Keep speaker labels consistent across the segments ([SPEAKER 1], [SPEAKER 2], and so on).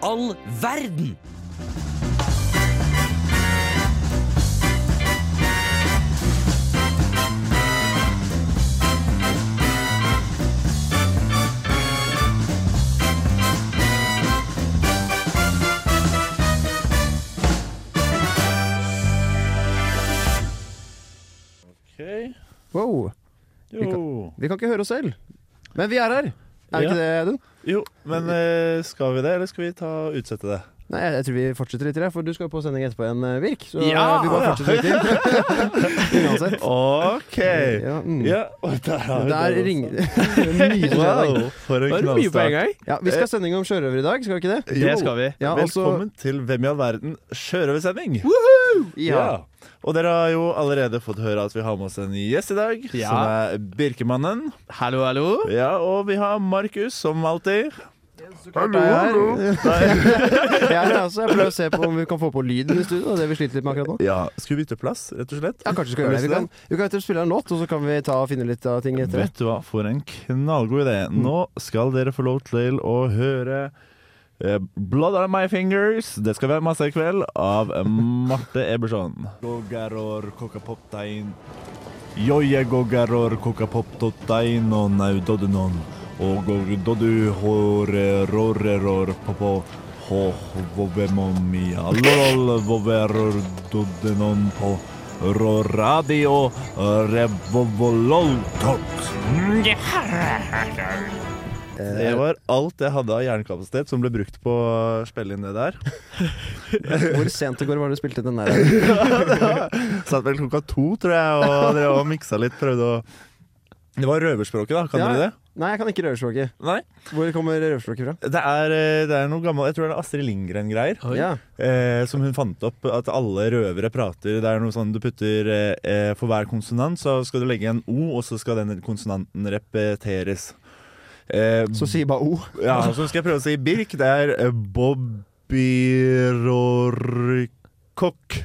[SPEAKER 1] all verden?
[SPEAKER 2] Ok.
[SPEAKER 3] Wow.
[SPEAKER 2] Jo.
[SPEAKER 3] Vi kan ikke høre oss selv. Men vi er her. Er vi
[SPEAKER 2] Ja.
[SPEAKER 3] ikke det, Audun?
[SPEAKER 2] jo, men eh, skal vi det, eller skal vi ta utsette det?
[SPEAKER 3] Nei, jeg, jeg tror vi fortsetter litt, i det, for du skal jo på sending etterpå igjen, eh, Virk. Så
[SPEAKER 2] Ja!
[SPEAKER 3] vi bare fortsetter litt til. Uansett.
[SPEAKER 2] OK.
[SPEAKER 3] Ja, mm.
[SPEAKER 2] Ja, og der har vi
[SPEAKER 3] Der
[SPEAKER 2] den
[SPEAKER 3] ringer
[SPEAKER 2] også.
[SPEAKER 3] Nydelig sending.
[SPEAKER 2] Wow, for en
[SPEAKER 4] Det var mye
[SPEAKER 2] knallstart.
[SPEAKER 4] poeng her.
[SPEAKER 3] Ja, vi skal ha sending om sjørøver i dag, skal vi ikke det?
[SPEAKER 2] Eh. Jo.
[SPEAKER 4] Det skal vi.
[SPEAKER 3] Ja, altså,
[SPEAKER 2] Velkommen til Hvem i all verden sjørøversending.
[SPEAKER 3] Også, ja.
[SPEAKER 2] Og dere har jo allerede fått høre at vi har med oss en gjest i dag,
[SPEAKER 4] Ja.
[SPEAKER 2] som er Birkemannen.
[SPEAKER 4] Hallo, hallo.
[SPEAKER 2] Ja, og vi har Markus, som alltid.
[SPEAKER 3] Hallo, hallo. Jeg er her også. Jeg prøver å se på om vi kan få på lyden i studio. Det er vi sliter litt med akkurat nå.
[SPEAKER 2] Ja, Skal vi bytte plass, rett og slett?
[SPEAKER 3] Ja, kanskje vi skal gjøre det. Vi kan, vi kan etter spille en låt, og så kan vi ta og finne litt av ting etter det.
[SPEAKER 2] Vet du Mm. hva, for en knallgod idé. Nå skal dere få lov til å høre eh, Blood on my fingers. Det skal være masse i kveld av Marte Eberson. Gogaror kokapoptain. Joje gogaror kokapoptotain og naudodunon. Og gododu hore roreror popo. Hovovemomia lol voveror dodenon på roradio revovololtot. Det
[SPEAKER 3] Eh,
[SPEAKER 2] var alt jeg hadde av hjernekapasitet som ble brukt på å spille inn det der.
[SPEAKER 3] Eh, hvor sent i går var det du spilte den der?
[SPEAKER 2] Satt vel klokka to, tror jeg, og drev og miksa litt. Prøvde å Det var røverspråket, da. Kan
[SPEAKER 3] Ja.
[SPEAKER 2] dere det?
[SPEAKER 3] Nei, jeg kan ikke røverspråket.
[SPEAKER 2] Nei.
[SPEAKER 3] Hvor kommer røverspråket fra?
[SPEAKER 2] Det er, eh, det er noe gammel Jeg tror det er Astrid Lindgren-greier.
[SPEAKER 4] Oi.
[SPEAKER 3] Ja.
[SPEAKER 2] Eh, som hun fant opp at alle røvere prater. Det er noe sånn du putter eh, eh, For hver konsonant så skal du legge en O, og så skal den konsonanten repeteres. Eh,
[SPEAKER 3] Så si bare O.
[SPEAKER 2] ja, så skal jeg prøve å si Birk. Det er eh, Bobbyrorkokk.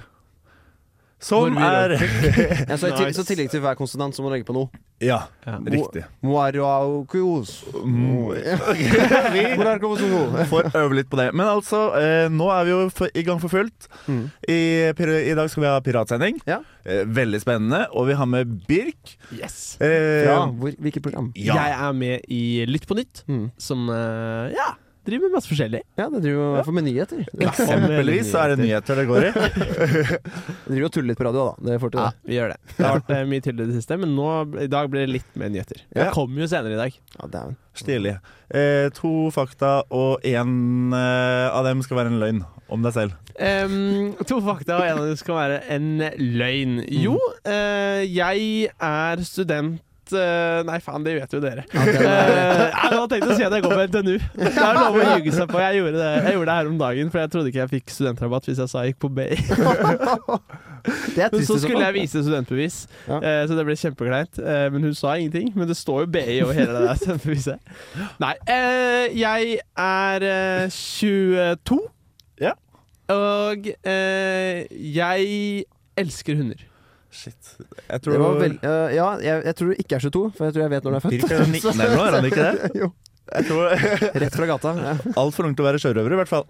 [SPEAKER 2] Som er
[SPEAKER 3] Ja, så, i til,
[SPEAKER 4] Nice.
[SPEAKER 3] så i tillegg til hver konsonant så må du legge på noe.
[SPEAKER 2] Ja,
[SPEAKER 4] Ja.
[SPEAKER 2] riktig.
[SPEAKER 3] Moaroaukos.
[SPEAKER 2] Mm.
[SPEAKER 3] Moaroaukos.
[SPEAKER 2] Får øve litt på det. Men altså, eh, nå er vi jo for, i gang for fullt.
[SPEAKER 3] Mm.
[SPEAKER 2] I, pir- I dag skal vi ha piratsending.
[SPEAKER 3] Ja.
[SPEAKER 2] Eh, veldig spennende. Og vi har med Birk.
[SPEAKER 4] Yes.
[SPEAKER 2] Eh,
[SPEAKER 3] Ja, hvor, hvilket program?
[SPEAKER 2] ja.
[SPEAKER 4] Jeg er med i Lytt på nytt,
[SPEAKER 3] Mm.
[SPEAKER 4] som eh, ja, driver med masse forskjellig.
[SPEAKER 3] Ja, det driver jo i hvert fall med nyheter. Det
[SPEAKER 2] Eksempelvis så er det nyheter det går i.
[SPEAKER 3] det driver jo og tuller litt på radio, da. Det får til
[SPEAKER 4] Ja,
[SPEAKER 3] det.
[SPEAKER 4] vi gjør det. Det har vært eh, mye til i det siste, men nå, i dag blir det litt mer nyheter.
[SPEAKER 2] Ja.
[SPEAKER 4] Det kommer jo senere i dag.
[SPEAKER 3] Ja, det er
[SPEAKER 2] Stilig. Eh, to fakta, og én eh, av dem skal være en løgn om deg selv.
[SPEAKER 4] Em, to fakta, og en av dem skal være en løgn. Jo, eh, jeg er student eh, nei, faen, det vet jo dere.
[SPEAKER 3] den er-
[SPEAKER 4] Eh, jeg hadde tenkt å si at jeg går på NTNU. Det er lov å ljuge seg på. Jeg gjorde, det, jeg gjorde det her om dagen, for jeg trodde ikke jeg fikk studentrabatt hvis jeg sa jeg gikk på BI.
[SPEAKER 3] Det er
[SPEAKER 4] Men
[SPEAKER 3] trist
[SPEAKER 4] så
[SPEAKER 3] i
[SPEAKER 4] skulle
[SPEAKER 3] fall.
[SPEAKER 4] jeg vise studentbevis,
[SPEAKER 3] Ja.
[SPEAKER 4] eh, så det ble kjempekleint. Eh, Men hun sa ingenting. Men det står jo BI over hele det der studentbeviset. Nei, eh, jeg er eh, 22.
[SPEAKER 2] Ja.
[SPEAKER 4] Og eh, jeg elsker hunder.
[SPEAKER 2] Shit. Jeg tror
[SPEAKER 3] Det var vel, eh, ja, jeg, jeg tror du ikke er 22, for jeg tror jeg vet når du er født.
[SPEAKER 2] Birk er 19 eller noe, er han ikke det?
[SPEAKER 3] Jo,
[SPEAKER 2] Jeg tror
[SPEAKER 3] Rett fra gata. Ja.
[SPEAKER 2] Altfor ung til å være sjørøver, i hvert fall.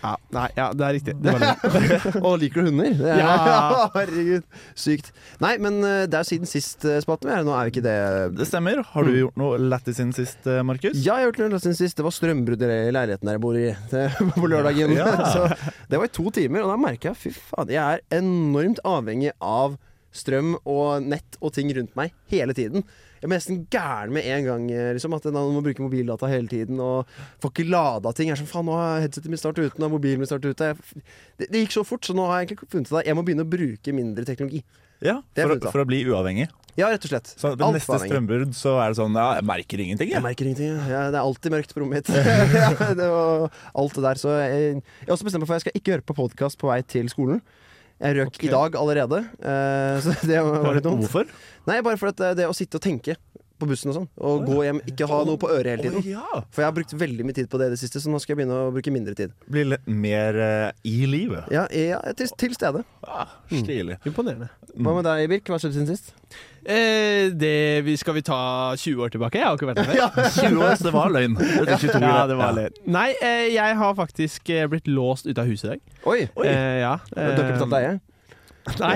[SPEAKER 4] Ja, nei, ja, det er riktig. Det var løgn.
[SPEAKER 3] Og liker du hunder? Det er,
[SPEAKER 4] Ja.
[SPEAKER 3] Herregud, sykt. Nei, men eh, det er siden sist eh, spaten vi er i. Nå er jo ikke det
[SPEAKER 2] Det stemmer. Har du gjort noe lættis siden sist, eh, Markus?
[SPEAKER 3] Mm. Ja, jeg har gjort noe siden sist. Det var strømbrudd i leiligheten der jeg bor i det- på lørdagen.
[SPEAKER 2] Ja.
[SPEAKER 3] Så det var i to timer, og da merka jeg fy faen, jeg er enormt avhengig av strøm og nett og ting rundt meg hele tiden. Jeg ble nesten gæren med en gang. eh, Liksom, at man må bruke mobildata hele tiden og får ikke lada ting. Jeg er sånn, faen, nå er headsetet mitt snart ute, nå er mobilen min snart ute. Jeg, f- det, det gikk så fort, så nå har jeg egentlig funnet ut at jeg må begynne å bruke mindre teknologi.
[SPEAKER 2] Ja,
[SPEAKER 3] Det er
[SPEAKER 2] for,
[SPEAKER 3] fint, da.
[SPEAKER 2] å- for å bli uavhengig.
[SPEAKER 3] Ja, rett og slett.
[SPEAKER 2] Så ved
[SPEAKER 3] Alt
[SPEAKER 2] neste
[SPEAKER 3] for avhengig.
[SPEAKER 2] strømbrudd så er det sånn Ja, jeg merker ingenting,
[SPEAKER 3] Jeg
[SPEAKER 2] jeg.
[SPEAKER 3] merker ingenting. ja. Ja, det er alltid mørkt på rommet mitt. ja, det var alt det der. Så jeg, jeg har også bestemt meg for at jeg skal ikke høre på podkast på vei til skolen. Jeg røk i dag allerede, eh, så det var litt dumt.
[SPEAKER 2] Hvorfor?
[SPEAKER 3] Nei, bare for at det, det å eh, sitte og tenke på bussen og sånn. Og gå hjem, ikke ha noe på øret hele tiden.
[SPEAKER 2] ja.
[SPEAKER 3] For jeg har brukt veldig mye tid på det i det siste, så nå skal jeg begynne å bruke mindre tid.
[SPEAKER 2] Bli litt mer eh, i livet.
[SPEAKER 3] Ja, ja til, til stede.
[SPEAKER 2] Ah,
[SPEAKER 3] Mm.
[SPEAKER 2] Stilig.
[SPEAKER 4] Imponerende.
[SPEAKER 3] Hva med deg, Birk? Hva skjedde siden sist?
[SPEAKER 4] Eh, det vi, skal vi ta 20 år tilbake? Jeg har ikke vært der.
[SPEAKER 2] 20 år, så det var løgn. Det er 22
[SPEAKER 4] Ja,
[SPEAKER 2] år.
[SPEAKER 4] det var
[SPEAKER 2] Ja.
[SPEAKER 4] litt. Nei, eh, jeg har faktisk eh, blitt låst ute av huset i dag.
[SPEAKER 3] Oi!
[SPEAKER 2] Oi.
[SPEAKER 4] Eh, ja.
[SPEAKER 3] Du har ikke betalt leie?
[SPEAKER 4] Nei.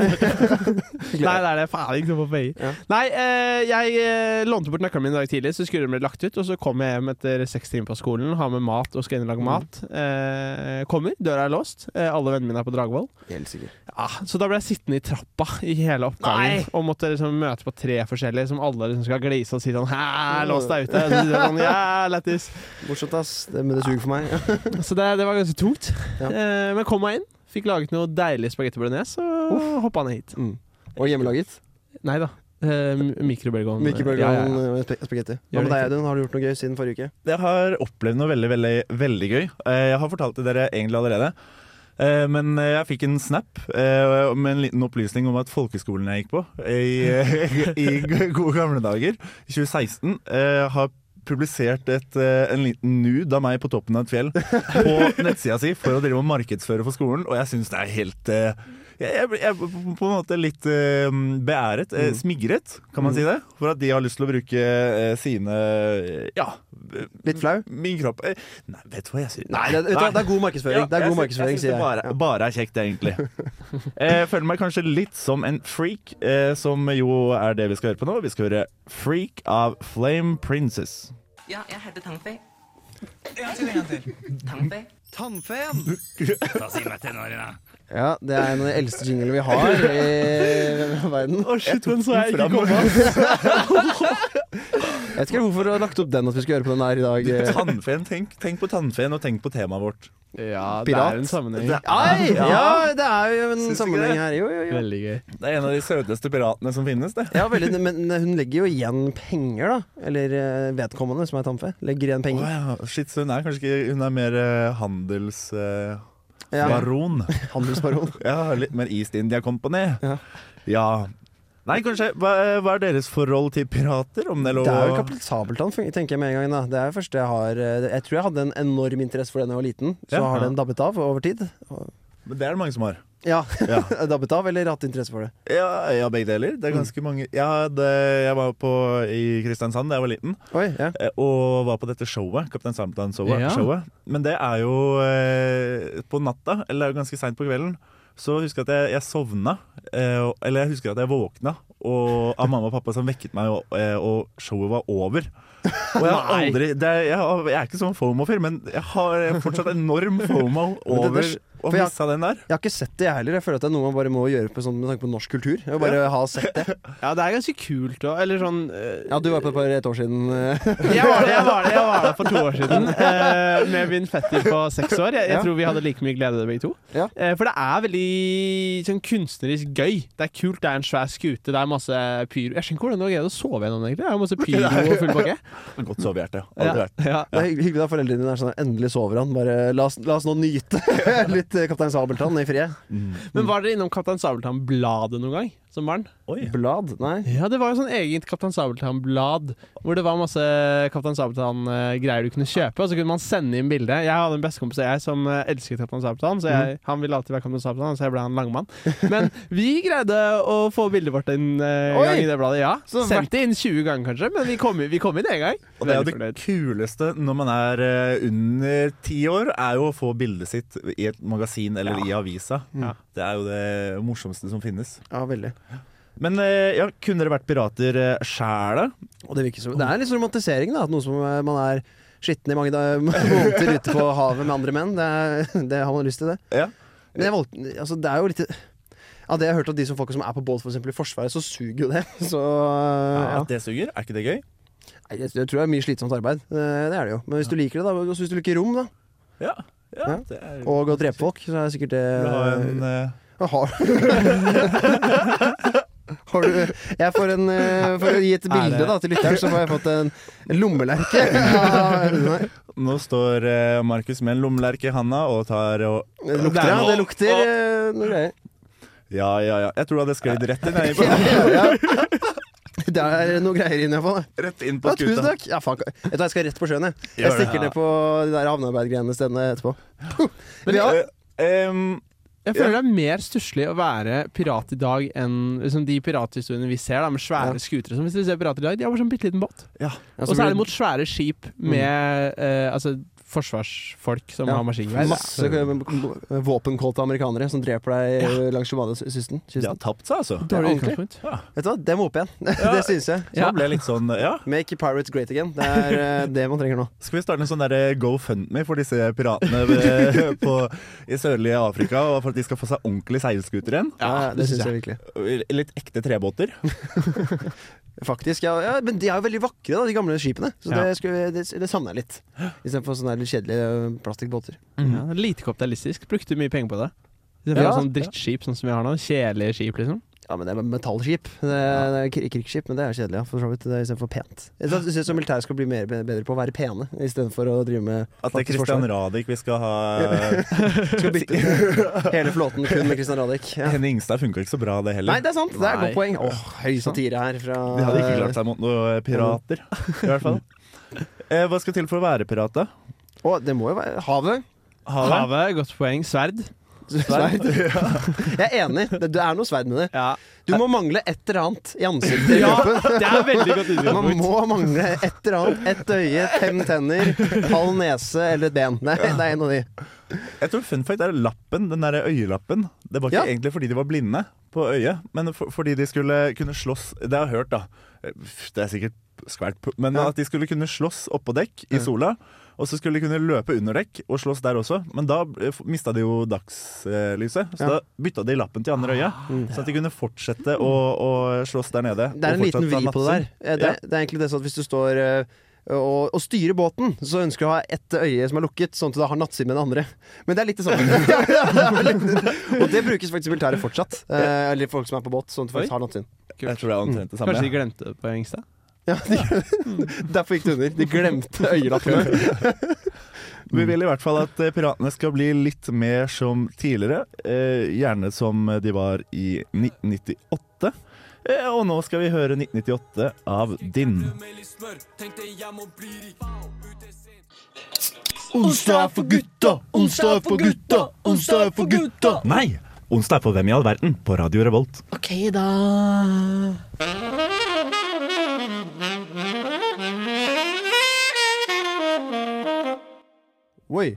[SPEAKER 4] Nei, det er det faen ikke som får penger.
[SPEAKER 3] Ja.
[SPEAKER 4] Nei, eh, jeg eh, lånte bort nøkkelen min i dag tidlig, så skulle den bli lagt ut. Og så kom jeg hjem etter seks timer på skolen, har med mat og skal inn og
[SPEAKER 3] Mm.
[SPEAKER 4] lage mat. Eh, kommer, døra er låst. Eh, alle vennene mine er på Dragvoll.
[SPEAKER 3] eh, Helt sikkert.
[SPEAKER 4] Ja, så da ble jeg sittende i trappa i hele oppgangen
[SPEAKER 2] Nei!
[SPEAKER 4] og måtte liksom møte på tre forskjellige som alle liksom skal glise og si sånn
[SPEAKER 3] Mm.
[SPEAKER 4] Hæ, lås deg ute! Og så sier jeg sånn, ja, lættis.
[SPEAKER 3] Morsomt, ass. Det, men det suger for meg.
[SPEAKER 4] Så det, det var ganske tungt.
[SPEAKER 3] Ja.
[SPEAKER 4] Eh, men kom meg inn. Fikk laget noe deilig spagetti bolognese og hoppa ned hit.
[SPEAKER 3] Mm. Og hjemmelaget.
[SPEAKER 4] Nei da. Eh, mikrobølgeovn.
[SPEAKER 3] Mikrobølgeovn og eh, sp spagetti. Hva
[SPEAKER 4] Gjør
[SPEAKER 3] med
[SPEAKER 4] det
[SPEAKER 3] deg,
[SPEAKER 4] ikke.
[SPEAKER 3] Audun? Har du gjort noe gøy siden forrige uke?
[SPEAKER 2] Jeg har opplevd noe veldig, veldig, veldig gøy. Eh, Jeg har fortalt det dere egentlig allerede. Eh, Men eh, jeg fikk en snap eh, med en liten opplysning om at folkeskolen jeg gikk på i, eh, i g- gode gamle dager, i 2016, eh, har publisert et, eh, en liten nude av meg på toppen av et fjell på nettsida si for å drive og markedsføre for skolen, og jeg syns det er helt eh, jeg, jeg, blir- jeg blir på en måte litt eh, beæret, eh,
[SPEAKER 3] Mm.
[SPEAKER 2] smigret, kan man si det, for at de har lyst til å bruke eh, sine Ja,
[SPEAKER 3] Litt flau?
[SPEAKER 2] min kropp eh, Nei, vet du hva jeg sier?
[SPEAKER 3] Nei, det, vet du hva, det er god markedsføring. det er god markedsføring,
[SPEAKER 2] sier
[SPEAKER 3] sier
[SPEAKER 2] jeg. Bare,
[SPEAKER 3] jeg.
[SPEAKER 2] bare er kjekt, egentlig. Eh, Jeg føler meg kanskje litt som en freak, eh, som jo er det vi skal høre på nå. Vi skal høre 'Freak' av Flame Princess.
[SPEAKER 1] Ja, jeg heter Tangfei.
[SPEAKER 3] Ja. ja, det er en av de eldste jinglene vi har i verden.
[SPEAKER 4] Å, shit, men så jeg ikke kom
[SPEAKER 3] Jeg vet ikke hvorfor du har lagt opp den at vi skal høre på den her i dag. eh.
[SPEAKER 2] Tannfeen, tenk, tenk på tannfeen, og tenk på temaet vårt.
[SPEAKER 4] Ja, det
[SPEAKER 3] Pirat.
[SPEAKER 4] er en sammenheng.
[SPEAKER 3] Ai, ja, det er jo en
[SPEAKER 2] Syns du ikke
[SPEAKER 3] sammenheng
[SPEAKER 2] det?
[SPEAKER 3] her. Jo, jo, jo.
[SPEAKER 4] Veldig gøy.
[SPEAKER 2] Det er en av de søteste piratene som finnes, det.
[SPEAKER 3] Ja, veldig, men hun legger jo igjen penger, da. Eller eh, vedkommende, som er tamfe. Legger igjen
[SPEAKER 2] Å
[SPEAKER 3] penger.
[SPEAKER 2] ja, shit, så hun er kanskje ikke Hun er mer eh, handelsbaron.
[SPEAKER 3] Ja, handelsbaron.
[SPEAKER 2] Ja, litt mer East India Company.
[SPEAKER 3] Ja.
[SPEAKER 2] Ja. Nei, kanskje hva, hva er deres forhold til pirater? Om det er lov
[SPEAKER 3] Det er jo
[SPEAKER 2] å-
[SPEAKER 3] kapabeltan, tenker jeg med en gang. da Det er jo første jeg har eh, Jeg tror jeg hadde en enorm interesse for den da jeg var liten. Så
[SPEAKER 2] Ja.
[SPEAKER 3] har den dabbet av over tid. Og-
[SPEAKER 2] Men det er det mange som har.
[SPEAKER 3] Ja,
[SPEAKER 2] Ja,
[SPEAKER 3] dabbet av, eller hatt interesse for det.
[SPEAKER 2] ja, ja begge deler. Det er ganske mange Jeg, hadde, jeg var på, i Kristiansand da jeg var liten,
[SPEAKER 3] Oi, ja.
[SPEAKER 2] eh, og var på dette showet. Kaptein Sabeltann-showet.
[SPEAKER 4] Ja.
[SPEAKER 2] showet. Men det er jo eh, på natta, eller det er jo ganske seint på kvelden. Så husker jeg at jeg, jeg sovna, eh, og- eller jeg husker at jeg våkna og, av mamma og pappa som vekket meg, og, eh, og showet var over. Og jeg har
[SPEAKER 4] Nei.
[SPEAKER 2] aldri det er, jeg, har, jeg er ikke sånn fomo-fyr, men jeg har fortsatt enorm fomo
[SPEAKER 3] Men
[SPEAKER 2] over
[SPEAKER 3] det- det-
[SPEAKER 2] å
[SPEAKER 3] for jeg-
[SPEAKER 2] missa den der.
[SPEAKER 3] Jeg har ikke sett det, jeg heller. Jeg føler at det er noe man bare må gjøre på, sånn, med tanke på norsk kultur. Jeg vil bare ha sett det.
[SPEAKER 4] Ja, det er ganske kult òg. Eller sånn eh,
[SPEAKER 3] Ja, du var på det for et år siden. eh.
[SPEAKER 4] Jeg var det, jeg var det, jeg var det for to år siden eh, med min fetter på seks år. Jeg,
[SPEAKER 3] Ja.
[SPEAKER 4] jeg tror vi hadde like mye glede av det, begge to.
[SPEAKER 3] Ja.
[SPEAKER 4] Eh, for det er veldig sånn kunstnerisk gøy. Det er kult, det er en svær skute, det er masse pyro. Jeg skjønner ikke hvordan du har greid å sove gjennom det, egentlig. Det er jo masse pyro og full pakke.
[SPEAKER 2] Godt sovehjerte. Aldri
[SPEAKER 4] Ja,
[SPEAKER 2] vært.
[SPEAKER 4] ja.
[SPEAKER 3] Det er hyggelig da foreldrene dine er sånn Endelig sover han. Bare la oss, la oss nå nyte litt eh, Kaptein Sabeltann i fred.
[SPEAKER 4] Men var dere innom Kaptein Sabeltann-bladet noen gang som barn?
[SPEAKER 2] Oi.
[SPEAKER 3] Blad? Nei.
[SPEAKER 4] Ja, det var jo sånn eget Kaptein Sabeltann-blad, hvor det var masse Kaptein Sabeltann-greier du kunne kjøpe, og så kunne man sende inn bilde. Jeg hadde en bestekompis av jeg som eh, elsket Kaptein Sabeltann, så
[SPEAKER 3] Mhm.
[SPEAKER 4] jeg, han ville alltid være Kaptein Sabeltann, så jeg ble han langmann. Men vi greide å få bildet vårt inn eh, en
[SPEAKER 3] Oi!
[SPEAKER 4] gang i det bladet, ja.
[SPEAKER 3] Så
[SPEAKER 4] Sendte inn 20 ganger kanskje, men vi kom, i- vi kom inn en gang.
[SPEAKER 2] Og det er jo
[SPEAKER 4] Veldig
[SPEAKER 2] det
[SPEAKER 4] fornøyd.
[SPEAKER 2] kuleste når man er eh, under ti år, er jo å få bildet sitt i et magasin eller i avisa.
[SPEAKER 4] Ja. Mm.
[SPEAKER 2] Det er jo det morsomste som finnes.
[SPEAKER 3] Ja, veldig.
[SPEAKER 2] Men eh, ja, kunne dere vært pirater eh, sjæl, da?
[SPEAKER 3] Og det virker som Det er litt sånn romantisering, da. At noe som eh, man er skitten i mange da- måneder ute på havet med andre menn. Det, er, det har man lyst til, det.
[SPEAKER 2] Ja.
[SPEAKER 3] Men jeg valgte Altså, det er jo litt Av det jeg har hørt av de som folk som er på båt, for eksempel i Forsvaret, så suger jo det. Så eh, ja.
[SPEAKER 2] At det suger? Er ikke det gøy?
[SPEAKER 3] Nei, Jeg, jeg tror det er mye slitsomt arbeid. Eh, Det er det jo. Men hvis du liker det, da. og Hvis du liker rom, da.
[SPEAKER 2] Ja. ja,
[SPEAKER 3] Ja.
[SPEAKER 2] det er
[SPEAKER 3] Og å drepe folk, så er det sikkert det
[SPEAKER 2] Du har en eh,
[SPEAKER 3] Har Har du Jeg får en eh, For å gi et bilde
[SPEAKER 4] det-
[SPEAKER 3] da til lytteren, så har jeg fått en en lommelerke. Ja, nei.
[SPEAKER 2] Nå står eh, Markus med en lommelerke i handa og tar og
[SPEAKER 3] Det lukter, ja. Det lukter eh, noe greier.
[SPEAKER 2] Ja, ja, ja. Jeg tror du hadde sklidd rett inn. jeg.
[SPEAKER 3] Ja, ja. det er noe greier inni hvert fall. da.
[SPEAKER 2] Rett inn på
[SPEAKER 3] Ja, tusen
[SPEAKER 2] skuta.
[SPEAKER 3] takk! Ja, faen, jeg, vet du hva, jeg skal rett på sjøen, jeg. Jeg
[SPEAKER 2] Gjør det.
[SPEAKER 3] stikker ned på de der havnearbeidgreiene stedene etterpå.
[SPEAKER 4] Men
[SPEAKER 3] Ja.
[SPEAKER 2] Eh, em,
[SPEAKER 4] Jeg føler det er mer stusslig å være pirat i dag enn liksom, de pirathistoriene vi ser, da, med
[SPEAKER 3] Ja.
[SPEAKER 4] svære skutere. og sånn. hvis dere ser pirater i dag, de har bare sånn bitte liten båt.
[SPEAKER 2] ja.
[SPEAKER 3] Ja, så
[SPEAKER 4] og så
[SPEAKER 3] blir Mm.
[SPEAKER 4] er det mot svære skip med eh, altså, forsvarsfolk som
[SPEAKER 3] Ja.
[SPEAKER 4] har maskingevær.
[SPEAKER 3] Masse eh, våpenkåte amerikanere som dreper deg eh, langs Somaliakysten.
[SPEAKER 2] De har
[SPEAKER 3] kysten.
[SPEAKER 2] tapt seg, altså.
[SPEAKER 3] Ja,
[SPEAKER 4] Dårlig
[SPEAKER 3] ordentlig.
[SPEAKER 4] utgangspunkt.
[SPEAKER 3] Vet du hva, det må opp igjen.
[SPEAKER 2] Ja.
[SPEAKER 3] det syns jeg.
[SPEAKER 2] Så
[SPEAKER 4] Ja.
[SPEAKER 2] det ble litt sånn Ja,
[SPEAKER 3] Make pirates great again. Det er eh, det man trenger nå.
[SPEAKER 2] skal vi starte en sånn derre GoFundMe for disse piratene ved- på, i sørlige Afrika, og for at de skal få seg ordentlig seilskuter igjen?
[SPEAKER 3] Ja, det syns jeg virkelig.
[SPEAKER 2] Litt ekte trebåter.
[SPEAKER 3] Faktisk, ja, ja, Men de er jo veldig vakre, da, de gamle skipene. Så
[SPEAKER 4] Ja.
[SPEAKER 3] det, skulle, det, det savner jeg litt. Istedenfor sånne der litt kjedelige eh, plastikkbåter.
[SPEAKER 4] Ja, det er lite kapitalistisk. Brukte mye penger på det. Det er
[SPEAKER 3] Ja.
[SPEAKER 4] sånn drittskip sånn som vi har nå. Kjedelige skip, liksom.
[SPEAKER 3] Ja, men det er metallskip. Det, det er kri- krigsskip, men det er kjedelig, ja. For så vidt. Det er Istedenfor pent. Jeg synes- jeg syns militæret skal bli mer, bedre på å være pene, istedenfor å drive med
[SPEAKER 2] At det er
[SPEAKER 3] faktisk
[SPEAKER 2] Christian
[SPEAKER 3] forsvar.
[SPEAKER 2] Radich vi skal ha
[SPEAKER 3] Skal bytte ut hele flåten kun med Christian Radich. Ja.
[SPEAKER 2] Henning Ingstad funka ikke så bra, det heller.
[SPEAKER 3] Nei, det er sant. Det er et
[SPEAKER 4] Nei.
[SPEAKER 3] godt poeng. Åh, høy satire her fra
[SPEAKER 2] De hadde ikke klart seg mot noen pirater, i hvert fall. Eh, hva skal til for å være pirat, da?
[SPEAKER 3] Å, det må jo være Havet.
[SPEAKER 2] Havet?
[SPEAKER 4] Havet, godt poeng. Sverd.
[SPEAKER 3] Sverd. Jeg er enig. Det, det er noe sverd med det.
[SPEAKER 4] Ja.
[SPEAKER 3] Du må mangle et eller annet i ansiktet. i
[SPEAKER 4] ja,
[SPEAKER 3] kroppen.
[SPEAKER 4] det er veldig godt
[SPEAKER 3] Man
[SPEAKER 4] utgangspunkt.
[SPEAKER 3] må mangle et eller annet. Et øye, fem tenner, halv nese eller et ben. Det er, det er en av de.
[SPEAKER 2] Jeg tror fun fact er lappen, den der øyelappen. Det var ikke
[SPEAKER 3] Ja.
[SPEAKER 2] egentlig fordi de var blinde på øyet, men for, fordi de skulle kunne slåss Det har jeg hørt, da. Eh, Det er sikkert skvært, pu- men
[SPEAKER 3] Ja.
[SPEAKER 2] at de skulle kunne slåss oppå dekk i
[SPEAKER 3] Ja.
[SPEAKER 2] sola. Og så skulle de kunne løpe under dekk og slåss der også, men da mista de jo dagslyset. Så
[SPEAKER 3] Ja. Ah. Mm.
[SPEAKER 2] da bytta de lappen til andre øyet, sånn at de kunne fortsette å, å slåss der nede.
[SPEAKER 3] Det er en
[SPEAKER 2] og
[SPEAKER 3] liten
[SPEAKER 2] fortsatt ha
[SPEAKER 3] vri på det der.
[SPEAKER 2] nattsyn.
[SPEAKER 3] Eh, Det, det er egentlig det sånn at hvis du står eh, og, og styrer båten, så ønsker du å ha ett øye som er lukket, sånn at du da har nattsyn med det andre. Men det er litt det samme. Ja, det er litt- og det brukes faktisk i militæret fortsatt. Eh, eller folk som er på båt, sånn at du
[SPEAKER 4] Oi.
[SPEAKER 3] faktisk har nattsyn.
[SPEAKER 2] Jeg tror det er
[SPEAKER 3] Mm.
[SPEAKER 2] omtrent det samme.
[SPEAKER 4] Kanskje de glemte det på Engstad?
[SPEAKER 3] Ja, de, derfor gikk det under. De glemte øyelappene.
[SPEAKER 2] Vi vil i hvert fall at eh, piratene skal bli litt mer som tidligere. Eh, gjerne som de var i 1998. Eh, og nå skal vi høre 1998 av din.
[SPEAKER 1] Onsdag er for gutta, onsdag er for gutta, onsdag er for gutta.
[SPEAKER 2] Nei! Onsdag er på Hvem i all verden? på Radio Revolt.
[SPEAKER 1] Ok, da.
[SPEAKER 3] Oi.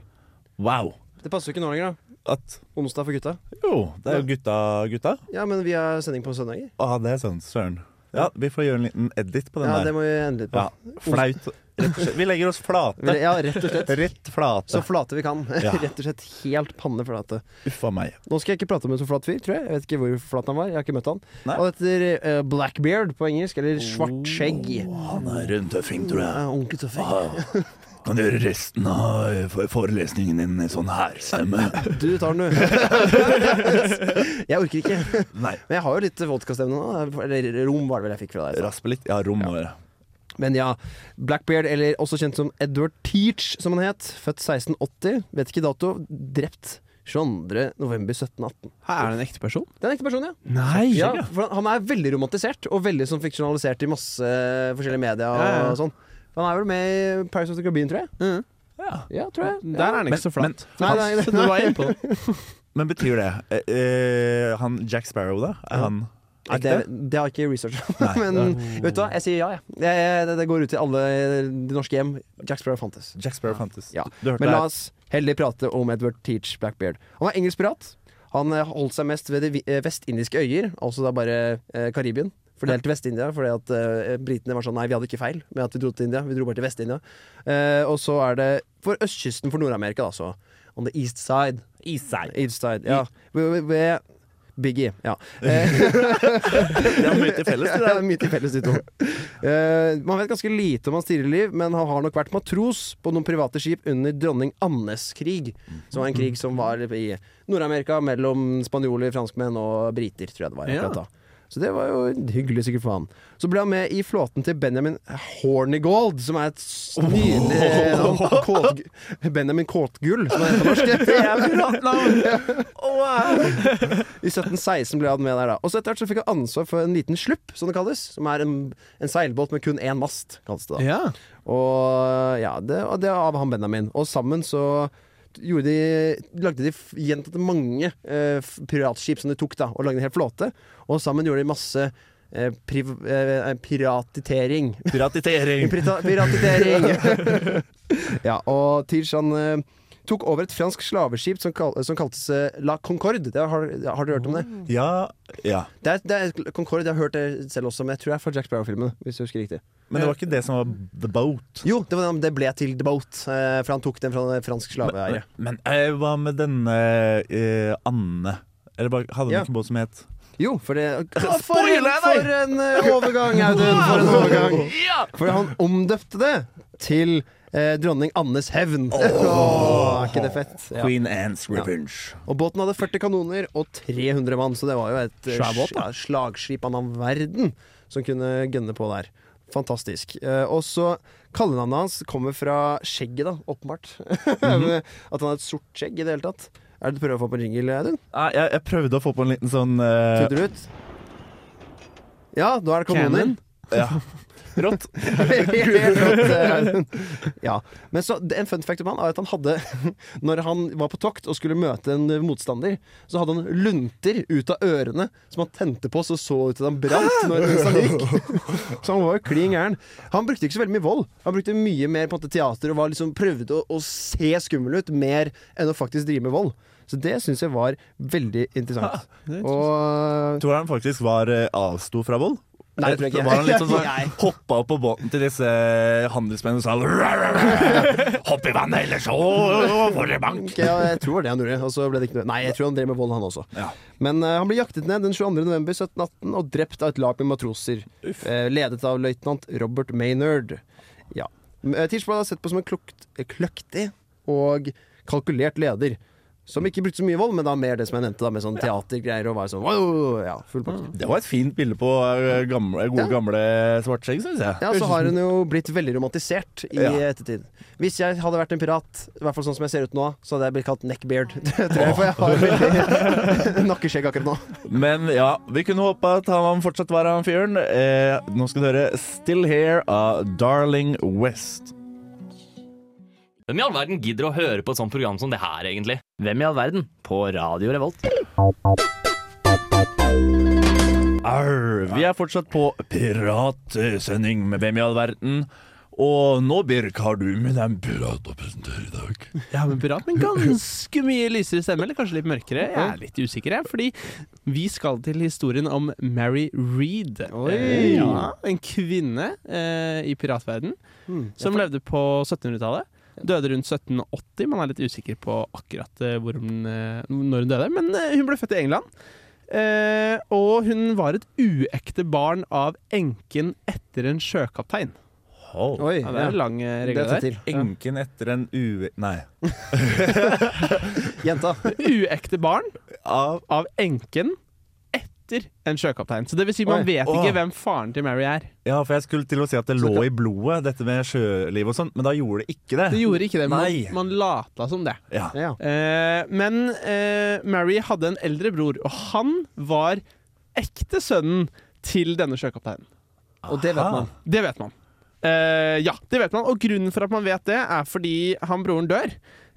[SPEAKER 2] Wow.
[SPEAKER 3] Det passer jo ikke nå lenger, da.
[SPEAKER 2] At
[SPEAKER 3] Onsdag for gutta.
[SPEAKER 2] Jo, det er jo gutta, gutta.
[SPEAKER 3] Ja, men vi har sending på søndager.
[SPEAKER 2] Å, det er sånn. Søren. Ja, vi får gjøre en liten edit på den
[SPEAKER 3] Ja, det
[SPEAKER 2] der.
[SPEAKER 3] må vi endre litt på.
[SPEAKER 2] Ja, Flaut. Rett og slett. Vi legger oss flate.
[SPEAKER 3] Ja, rett og slett.
[SPEAKER 2] Rett
[SPEAKER 3] Så
[SPEAKER 2] flate.
[SPEAKER 3] flate vi kan.
[SPEAKER 2] Ja.
[SPEAKER 3] Rett og slett helt panneflate.
[SPEAKER 2] Uffa meg.
[SPEAKER 3] Nå skal jeg ikke prate om en så flat fyr, tror jeg. Jeg vet ikke hvor flat han var. Jeg har ikke møtt han.
[SPEAKER 2] Nei.
[SPEAKER 3] Han heter eh, Blackbeard på engelsk, eller svart skjegg. Ah,
[SPEAKER 2] Han er en tøffing, tror
[SPEAKER 3] Ja, Ordentlig tøff.
[SPEAKER 2] Kan gjøre resten av forelesningen din i sånn hærstemme.
[SPEAKER 3] Du tar den, du. jeg orker ikke.
[SPEAKER 2] Nei.
[SPEAKER 3] Men jeg har jo litt vodkastemme nå. Eller rom var det vel jeg fikk fra deg.
[SPEAKER 2] Raspe litt. Ja, rom må være.
[SPEAKER 3] Men ja, Blackbeard, eller også kjent som Edward Teach, som han het. Født 1680, vet ikke dato. Drept 22.11.1718.
[SPEAKER 4] Her er det en ekte person.
[SPEAKER 3] Det er en ekte person, ja.
[SPEAKER 4] Nei!
[SPEAKER 3] ja for han er veldig romantisert, og veldig sånn fiksjonalisert i masse eh, forskjellige medier. Og,
[SPEAKER 4] Ja, ja, ja.
[SPEAKER 3] sånn Han er vel med i Paris of the Caribbean, tror jeg.
[SPEAKER 4] Mhm.
[SPEAKER 2] Ja.
[SPEAKER 3] Ja, tror jeg.
[SPEAKER 4] Der er den ikke så
[SPEAKER 2] Men-
[SPEAKER 4] flat.
[SPEAKER 3] Nei, nei, nei.
[SPEAKER 4] Så du var inne på den.
[SPEAKER 2] Men betyr det eh, eh, Han Jack Sparrow, da? Er han
[SPEAKER 3] Nei, det, det har jeg ikke researcha,
[SPEAKER 2] Nei.
[SPEAKER 3] men vet du hva, jeg sier ja, jeg. Det, det, det går ut til alle de norske hjem. Jack Sparrow fantes.
[SPEAKER 2] Jack Sparrow fantes.
[SPEAKER 3] Ja.
[SPEAKER 2] Du, du hørte
[SPEAKER 3] Men la
[SPEAKER 2] det?
[SPEAKER 3] oss heller prate om Edward Teach Blackbeard. Han var engelsk pirat. Han eh, holdt seg mest ved de vi- eh, vestindiske øyer, altså da bare eh, Karibien. Fordelt til Vest-India, fordi at eh, britene var sånn Nei, vi hadde ikke feil med at vi dro til India. Vi dro bare til Vest-India. Eh, og så er det for østkysten for Nord-Amerika, da, så. On the east side. East side, ja. Ved, ved- ved Biggie, ja. Eh,
[SPEAKER 2] Det er mye til felles.
[SPEAKER 3] det er mye til felles, de to. Eh, man vet ganske lite om hans tidligere liv, men han har nok vært matros på noen private skip under dronning Annes krig. Som var en krig som var i Nord-Amerika mellom spanjoler, franskmenn og briter, tror jeg det var.
[SPEAKER 4] Ja.
[SPEAKER 3] akkurat da Så det var jo hyggelig sikkert for han. Så ble han med i flåten til Benjamin Hornigold, som er et s- nydelig navn. Kåtg- Benjamin Kåtgull, som er norsk. I 1716 ble han med der, da. Og så etter hvert så fikk han ansvar for en liten slupp, som det kalles. Som er en, en seilbåt med kun én mast, kalles det da.
[SPEAKER 4] Ja.
[SPEAKER 3] Og ja, det, og det var av han Benjamin. Og sammen så gjorde de Lagde de f- gjentatte mange eh, f- piratskip som de tok, da, og lagde en hel flåte. Og sammen gjorde de masse eh, priv, eh, piratitering.
[SPEAKER 2] Piratitering.
[SPEAKER 3] Pirata- Piratitering! ja, og Tirs han eh, tok over et fransk slaveskip som, kal som kaltes eh, La Concorde. Det har, har dere hørt om det?
[SPEAKER 2] Ja, ja.
[SPEAKER 3] Det er, det er Concorde, jeg har hørt det selv også, men jeg tror det er fra Jack Sparrow-filmen. Hvis jeg husker riktig
[SPEAKER 2] Men det var ikke det som var the boat.
[SPEAKER 3] Jo, det, var, den- det ble til The Boat, eh, for han tok den fra en fransk slaveeier.
[SPEAKER 2] Men, men eh, hva med denne eh, Anne? Eller bare, hadde hun
[SPEAKER 3] Ja.
[SPEAKER 2] ikke en båt som het
[SPEAKER 3] Jo, for det For en,
[SPEAKER 2] Spoiler, nei!
[SPEAKER 3] for en eh, overgang, Audun! For en overgang. For han omdøpte det til eh, Dronning Annes hevn. Åh, er ikke det fett? Ja.
[SPEAKER 2] Queen Anne's Revenge?
[SPEAKER 3] Og båten hadde 40 kanoner og 300 mann, så det var jo et eh,
[SPEAKER 4] Svær båt,
[SPEAKER 3] ja, slagskip av annen verden som kunne gønne på der. Fantastisk. Eh, og så kallenavnet hans kommer fra skjegget, da, åpenbart. At han har et sort skjegg i det hele tatt. Er det du prøver å få på en jingle, Audun?
[SPEAKER 2] Nei, Ah, jeg, jeg prøvde å få på en liten sånn eh,
[SPEAKER 3] Tuter du ut? Ja, nå er det kanoner.
[SPEAKER 4] Cannon.
[SPEAKER 2] ja. Rått.
[SPEAKER 3] Helt rått, eh, Audun. ja. Men så, en fun fact om han er at han hadde Når han var på tokt og skulle møte en motstander, så hadde han lunter ut av ørene som han tente på så så ut som han brant
[SPEAKER 4] Ah!
[SPEAKER 3] når mens han gikk. Så han var jo klin gæren. Han brukte ikke så veldig mye vold. Han brukte mye mer på en måte teater og var liksom, prøvde å, å se skummel ut mer enn å faktisk drive med vold. Så det syns jeg var veldig interessant.
[SPEAKER 4] Ah, det er
[SPEAKER 3] Og
[SPEAKER 2] Tror han faktisk var eh, avsto fra vold?
[SPEAKER 3] Nei, det tror jeg ikke.
[SPEAKER 2] Var han litt sånn,
[SPEAKER 3] Nei.
[SPEAKER 2] sånn hoppa opp på båten til disse eh, handelsmennene og sa "Rah, rah, rah. Hopp i vannet, ellers så får dere bank!
[SPEAKER 3] Ok, ja, jeg tror det var det han gjorde. Og så ble det ikke noe Nei, jeg tror han drev med vold, han også.
[SPEAKER 2] Ja.
[SPEAKER 3] Men eh, han ble jaktet ned den 22. november 1718 og drept av et lag med matroser. eh, ledet av løytnant Robert Maynard. Ja. Eh, Tisch ble da sett på som en klokt, eh, kløktig og kalkulert leder. Som ikke brukte så mye vold, men da mer det som jeg nevnte, da, med sånn teatergreier og var sånn wow, ja, full pakke.
[SPEAKER 2] Det var et fint bilde på eh, gamle, gode,
[SPEAKER 3] Ja.
[SPEAKER 2] gamle svartskjegg, syns jeg.
[SPEAKER 3] Ja, så har hun jo blitt veldig romantisert i
[SPEAKER 2] Ja.
[SPEAKER 3] ettertid. Hvis jeg hadde vært en pirat, i hvert fall sånn som jeg ser ut nå, så hadde jeg blitt kalt neckbeard. Det tror jeg, for jeg har veldig nakkeskjegg akkurat nå.
[SPEAKER 2] Men ja, vi kunne håpe at han fortsatt var han fyren. Eh, nå skal du høre Still Here av Darling West.
[SPEAKER 5] Hvem i all verden gidder å høre på et sånt program som det her, egentlig? Hvem i all verden? På Radio Revolt.
[SPEAKER 2] Arr, vi er fortsatt på piratsending med Hvem i all verden. Og nå, Birk, har du med deg en pirat å presentere i dag.
[SPEAKER 4] Ja, men pirat med en ganske mye lysere stemme, eller kanskje litt mørkere. Jeg er litt usikker, jeg, fordi vi skal til historien om Mary Reed. Eh, Ja, en kvinne eh, i piratverden som levde på 1700-tallet. Døde rundt 1780. Man er litt usikker på akkurat eh, hvor hun, eh, når hun døde, men eh, hun ble født i England. Eh, og hun var et uekte barn av enken etter en sjøkaptein.
[SPEAKER 2] Oh,
[SPEAKER 3] Oi,
[SPEAKER 4] Ja, det er en lang eh, regel der.
[SPEAKER 2] enken etter en u... Nei.
[SPEAKER 3] Jenta.
[SPEAKER 4] Uekte barn
[SPEAKER 2] Av
[SPEAKER 4] av enken etter en sjøkaptein. Så det vil si, man
[SPEAKER 3] Oi.
[SPEAKER 4] vet
[SPEAKER 2] Åh.
[SPEAKER 4] ikke hvem faren til Mary er.
[SPEAKER 2] Ja, for jeg skulle til å si at det lå i blodet, dette med sjøliv og sånn, men da gjorde det ikke det.
[SPEAKER 4] Det gjorde ikke det, man,
[SPEAKER 2] Nei.
[SPEAKER 4] man lata som det.
[SPEAKER 2] Ja.
[SPEAKER 3] Ja.
[SPEAKER 4] Eh, men eh, Mary hadde en eldre bror, og han var ekte sønnen til denne sjøkapteinen.
[SPEAKER 3] Og det vet man.
[SPEAKER 4] Det vet man. Eh, ja, det vet man. Og grunnen for at man vet det, er fordi han broren dør.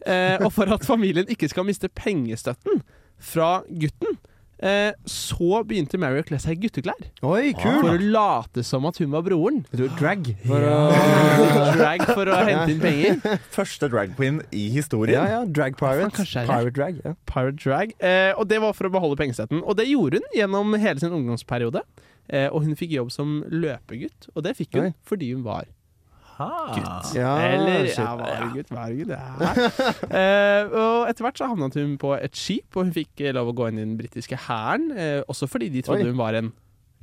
[SPEAKER 4] Eh, og for at familien ikke skal miste pengestøtten fra gutten, eh, så begynte Mary å kle seg i gutteklær.
[SPEAKER 3] Oi,
[SPEAKER 4] For å late som at hun var broren.
[SPEAKER 3] Du er drag.
[SPEAKER 4] Drag for å hente inn penger.
[SPEAKER 2] Første drag queen i historien.
[SPEAKER 3] Ja, ja. Drag pirate.
[SPEAKER 4] Kanskje er det.
[SPEAKER 3] Pirate drag. Ja.
[SPEAKER 4] Pirate drag. Eh, og det var for å beholde pengestøtten. Og det gjorde hun gjennom hele sin ungdomsperiode. Eh, og hun fikk jobb som løpegutt, og det fikk hun
[SPEAKER 3] Oi.
[SPEAKER 4] fordi hun var
[SPEAKER 2] Gutt.
[SPEAKER 3] Ja,
[SPEAKER 4] Eller
[SPEAKER 3] shit.
[SPEAKER 4] ja, var det gutt, var det gutt, ja. Eh, og etter hvert så havnet hun på et skip, og hun fikk eh, lov å gå inn i den britiske hæren. Eh, også fordi de trodde
[SPEAKER 3] Oi.
[SPEAKER 4] hun var en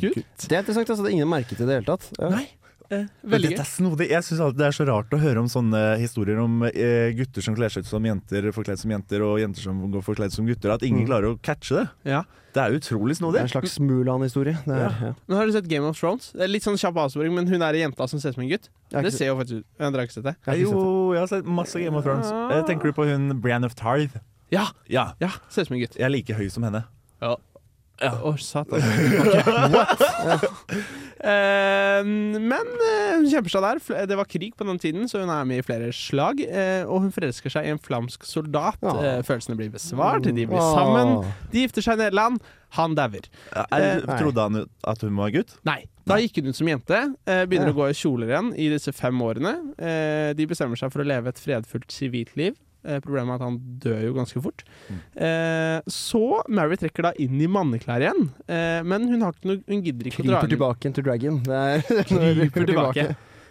[SPEAKER 4] gutt.
[SPEAKER 3] Det er interessant altså, det er ingen merket i det hele tatt. Ja.
[SPEAKER 4] Nei.
[SPEAKER 2] Men
[SPEAKER 4] Veldig
[SPEAKER 2] Dette
[SPEAKER 4] gøy.
[SPEAKER 2] er snodig. Jeg syns alltid det er så rart å høre om sånne historier om eh, gutter som kler seg ut som jenter, forkledd som jenter, og jenter som går forkledd som gutter. At ingen klarer å catche det.
[SPEAKER 4] Ja.
[SPEAKER 2] Det er utrolig
[SPEAKER 3] Det
[SPEAKER 2] snodig.
[SPEAKER 3] er en slags Mulan-historie. Det er, ja.
[SPEAKER 4] Men har du sett Game of Thrones? Det er litt sånn kjapp avsporing, men hun er ei jente som ser ut som en gutt.
[SPEAKER 3] Jeg har
[SPEAKER 4] Det
[SPEAKER 3] ikke-
[SPEAKER 4] ser jo faktisk ut Ja, Dere har ikke sett det?
[SPEAKER 3] jeg har ikke
[SPEAKER 2] jo,
[SPEAKER 3] sett det.
[SPEAKER 2] jeg har sett masse Game of Thrones. Eh, tenker du på hun Brian of Tarth?
[SPEAKER 4] Ja!
[SPEAKER 2] Ja.
[SPEAKER 4] ja ser ut som en gutt.
[SPEAKER 2] Jeg er like høy som henne.
[SPEAKER 4] Å, satan. Eh, men eh, hun kjemper seg der. Fl- Det var krig på den tiden, så hun er med i flere slag. eh, og hun forelsker seg i en flamsk soldat.
[SPEAKER 3] Ja.
[SPEAKER 4] Eh, følelsene blir besvart, de blir
[SPEAKER 3] Åh.
[SPEAKER 4] sammen. De gifter seg i Nederland. Han dauer.
[SPEAKER 2] Jeg Eh, trodde han ut- at hun var gutt?
[SPEAKER 4] Nei. Da gikk hun ut som jente. eh,
[SPEAKER 3] Ja.
[SPEAKER 4] Begynner å gå i kjoler igjen i disse fem årene. Eh, De bestemmer seg for å leve et fredfullt sivilt liv. Eh, Problemet er at han dør jo ganske fort. Eh, Så Mary trekker da inn i manneklær igjen, eh, men hun, har ikke noe, hun gidder ikke å dra
[SPEAKER 3] Kryper
[SPEAKER 4] inn
[SPEAKER 3] tilbake igjen til Dragon. Det er,
[SPEAKER 4] Kryper tilbake.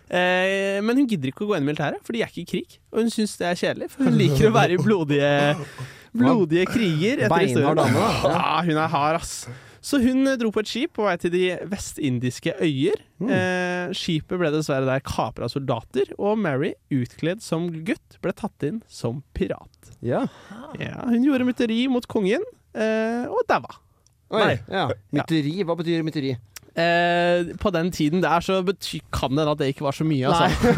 [SPEAKER 4] Eh, men hun gidder ikke å gå inn i militæret, for de er ikke i krig. Og hun syns det er kjedelig, for hun liker å være i blodige, blodige kriger. etter
[SPEAKER 3] Beinhard
[SPEAKER 4] historien.
[SPEAKER 3] dame, da.
[SPEAKER 4] Ja, hun er hard, ass. Så hun eh, dro på et skip på vei til de vestindiske øyer.
[SPEAKER 3] Mm.
[SPEAKER 4] Eh, skipet ble dessverre der kapra av soldater, og Mary, utkledd som gutt, ble tatt inn som pirat.
[SPEAKER 3] Ja.
[SPEAKER 4] Ja, hun gjorde mytteri mot kongen, eh, og daua.
[SPEAKER 3] Oi, ja. Mytteri. Hva betyr mytteri?
[SPEAKER 4] Eh, på den tiden der så bety kan det hende at det ikke var så mye. Altså.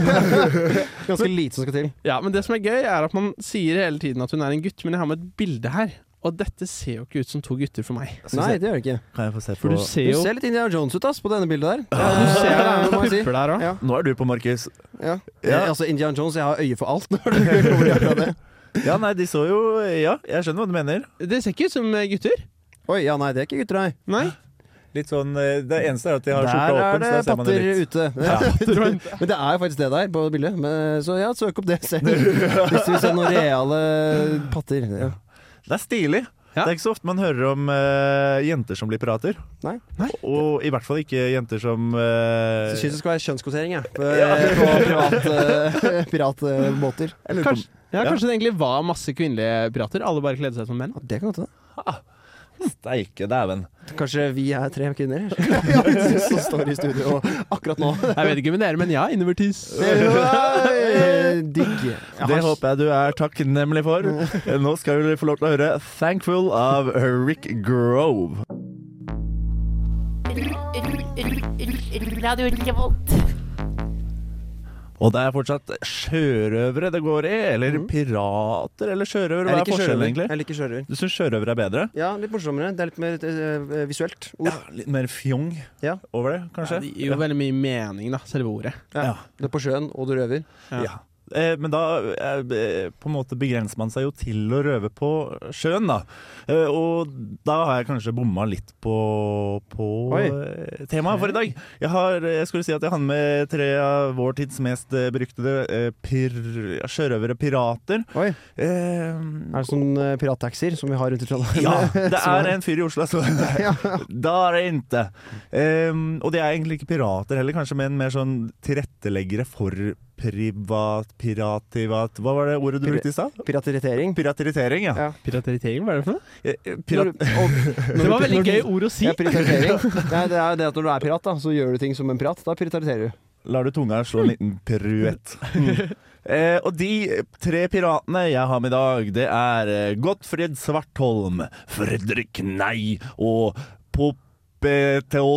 [SPEAKER 3] Ganske lite som skal til.
[SPEAKER 4] Ja, men det som er gøy, er at man sier hele tiden at hun er en gutt, men jeg har med et bilde her. Og dette ser jo ikke ut som to gutter for meg.
[SPEAKER 2] Synes
[SPEAKER 3] Nei,
[SPEAKER 2] jeg-
[SPEAKER 3] det gjør det ikke.
[SPEAKER 2] Kan jeg få se
[SPEAKER 4] For
[SPEAKER 2] på
[SPEAKER 4] du ser
[SPEAKER 3] Du
[SPEAKER 4] jo
[SPEAKER 3] ser litt Indiana Jones ut ass, på denne bildet der.
[SPEAKER 4] Du ser det er
[SPEAKER 3] det må
[SPEAKER 4] noen
[SPEAKER 3] jeg si.
[SPEAKER 4] pupper der òg.
[SPEAKER 3] Ja.
[SPEAKER 2] Nå er du på, Markus.
[SPEAKER 3] Ja.
[SPEAKER 2] Ja.
[SPEAKER 3] Eh, Altså, Indiana Jones, jeg har øye for alt. Når det kommer til akkurat det.
[SPEAKER 2] Ja, nei, de så jo eh, Ja, jeg skjønner hva du mener.
[SPEAKER 4] Det ser ikke ut som eh, gutter.
[SPEAKER 3] Oi, ja, nei, det er ikke gutter, nei.
[SPEAKER 4] Nei.
[SPEAKER 2] Litt sånn eh, Det eneste er at de har skjorta
[SPEAKER 3] Der er
[SPEAKER 2] åpen,
[SPEAKER 3] det
[SPEAKER 2] så der ser man det
[SPEAKER 3] patter
[SPEAKER 2] litt.
[SPEAKER 3] ute. men det er jo faktisk det der på bildet. Men, eh, så ja, søk opp det selv. Hvis du vil se noen reale patter. Ja.
[SPEAKER 2] Det er stilig. Det
[SPEAKER 4] Ja.
[SPEAKER 2] er ikke så ofte man hører om eh, jenter som blir pirater.
[SPEAKER 3] Nei.
[SPEAKER 2] Og i hvert fall ikke jenter som eh,
[SPEAKER 3] Så syns det skal være kjønnskvotering, Eh, jeg. På, på piratbåter. Pirat, eh, båter.
[SPEAKER 2] jeg lurer på om-
[SPEAKER 4] Kanskje, ja, kanskje det egentlig var masse kvinnelige pirater. Alle bare kledde seg som menn.
[SPEAKER 3] Ja, det kan godt hende.
[SPEAKER 2] Steike dæven.
[SPEAKER 3] Kanskje vi er tre kvinner ja, som står i studio og akkurat nå.
[SPEAKER 4] Jeg vet ikke med dere, men ja, innovertis.
[SPEAKER 3] Oi, Digg.
[SPEAKER 2] Det håper jeg du er takknemlig for. Eh, Nå skal vi få lov til å høre 'Thankful' av Rick Grove.
[SPEAKER 6] Radio Revolt.
[SPEAKER 2] Og det er fortsatt sjørøvere det går i. Eller pirater Mm. eller sjørøvere. Hva er forskjellen, egentlig?
[SPEAKER 3] Jeg liker sjørøver.
[SPEAKER 2] Du syns sjørøvere er bedre?
[SPEAKER 3] Ja, litt morsommere. Det er litt mer eh, visuelt ord.
[SPEAKER 2] Ja, litt mer fjong
[SPEAKER 3] Ja.
[SPEAKER 2] over det, kanskje?
[SPEAKER 4] Det gir jo veldig mye mening, da, selve ordet.
[SPEAKER 2] Ja.
[SPEAKER 3] Du er på sjøen, og du røver.
[SPEAKER 4] Ja.
[SPEAKER 2] Ja. Eh, Men da eh, eh, på en måte begrenser man seg jo til å røve på sjøen, da. Eh, Og da har jeg kanskje bomma litt på, på
[SPEAKER 3] Oi.
[SPEAKER 2] eh, temaet for i dag. Jeg, har, jeg skulle si at jeg har med tre av vår tids mest eh, beryktede eh, pir, sjørøvere pirater.
[SPEAKER 3] Oi,
[SPEAKER 2] Eh,
[SPEAKER 3] Er det sånn eh, pirattaxier som vi har rundt i Trondheim?
[SPEAKER 2] Ja, det er en fyr i Oslo som Da er det ikke. Ehm, og de er egentlig ikke pirater heller, kanskje, men mer sånn tilretteleggere for privat, pirativat Hva var det ordet du
[SPEAKER 3] Pir-
[SPEAKER 2] brukte i stad?
[SPEAKER 3] Pirateritering.
[SPEAKER 2] Pirateritering, ja.
[SPEAKER 3] Ja.
[SPEAKER 4] Pirateritering, hva er det for noe?
[SPEAKER 2] Eh, eh, Pirat
[SPEAKER 4] Det var veldig
[SPEAKER 3] Når du-
[SPEAKER 4] gøy ord å si.
[SPEAKER 3] Ja, pirateritering. Nei, det er jo det at når du er pirat, da, så gjør du ting som en pirat. Da pirateriterer du.
[SPEAKER 2] Lar du tunga slå en liten piruett. Eh, og de tre piratene jeg har med i dag, det er eh, Gottfried Svartholm, Fredrik Nei og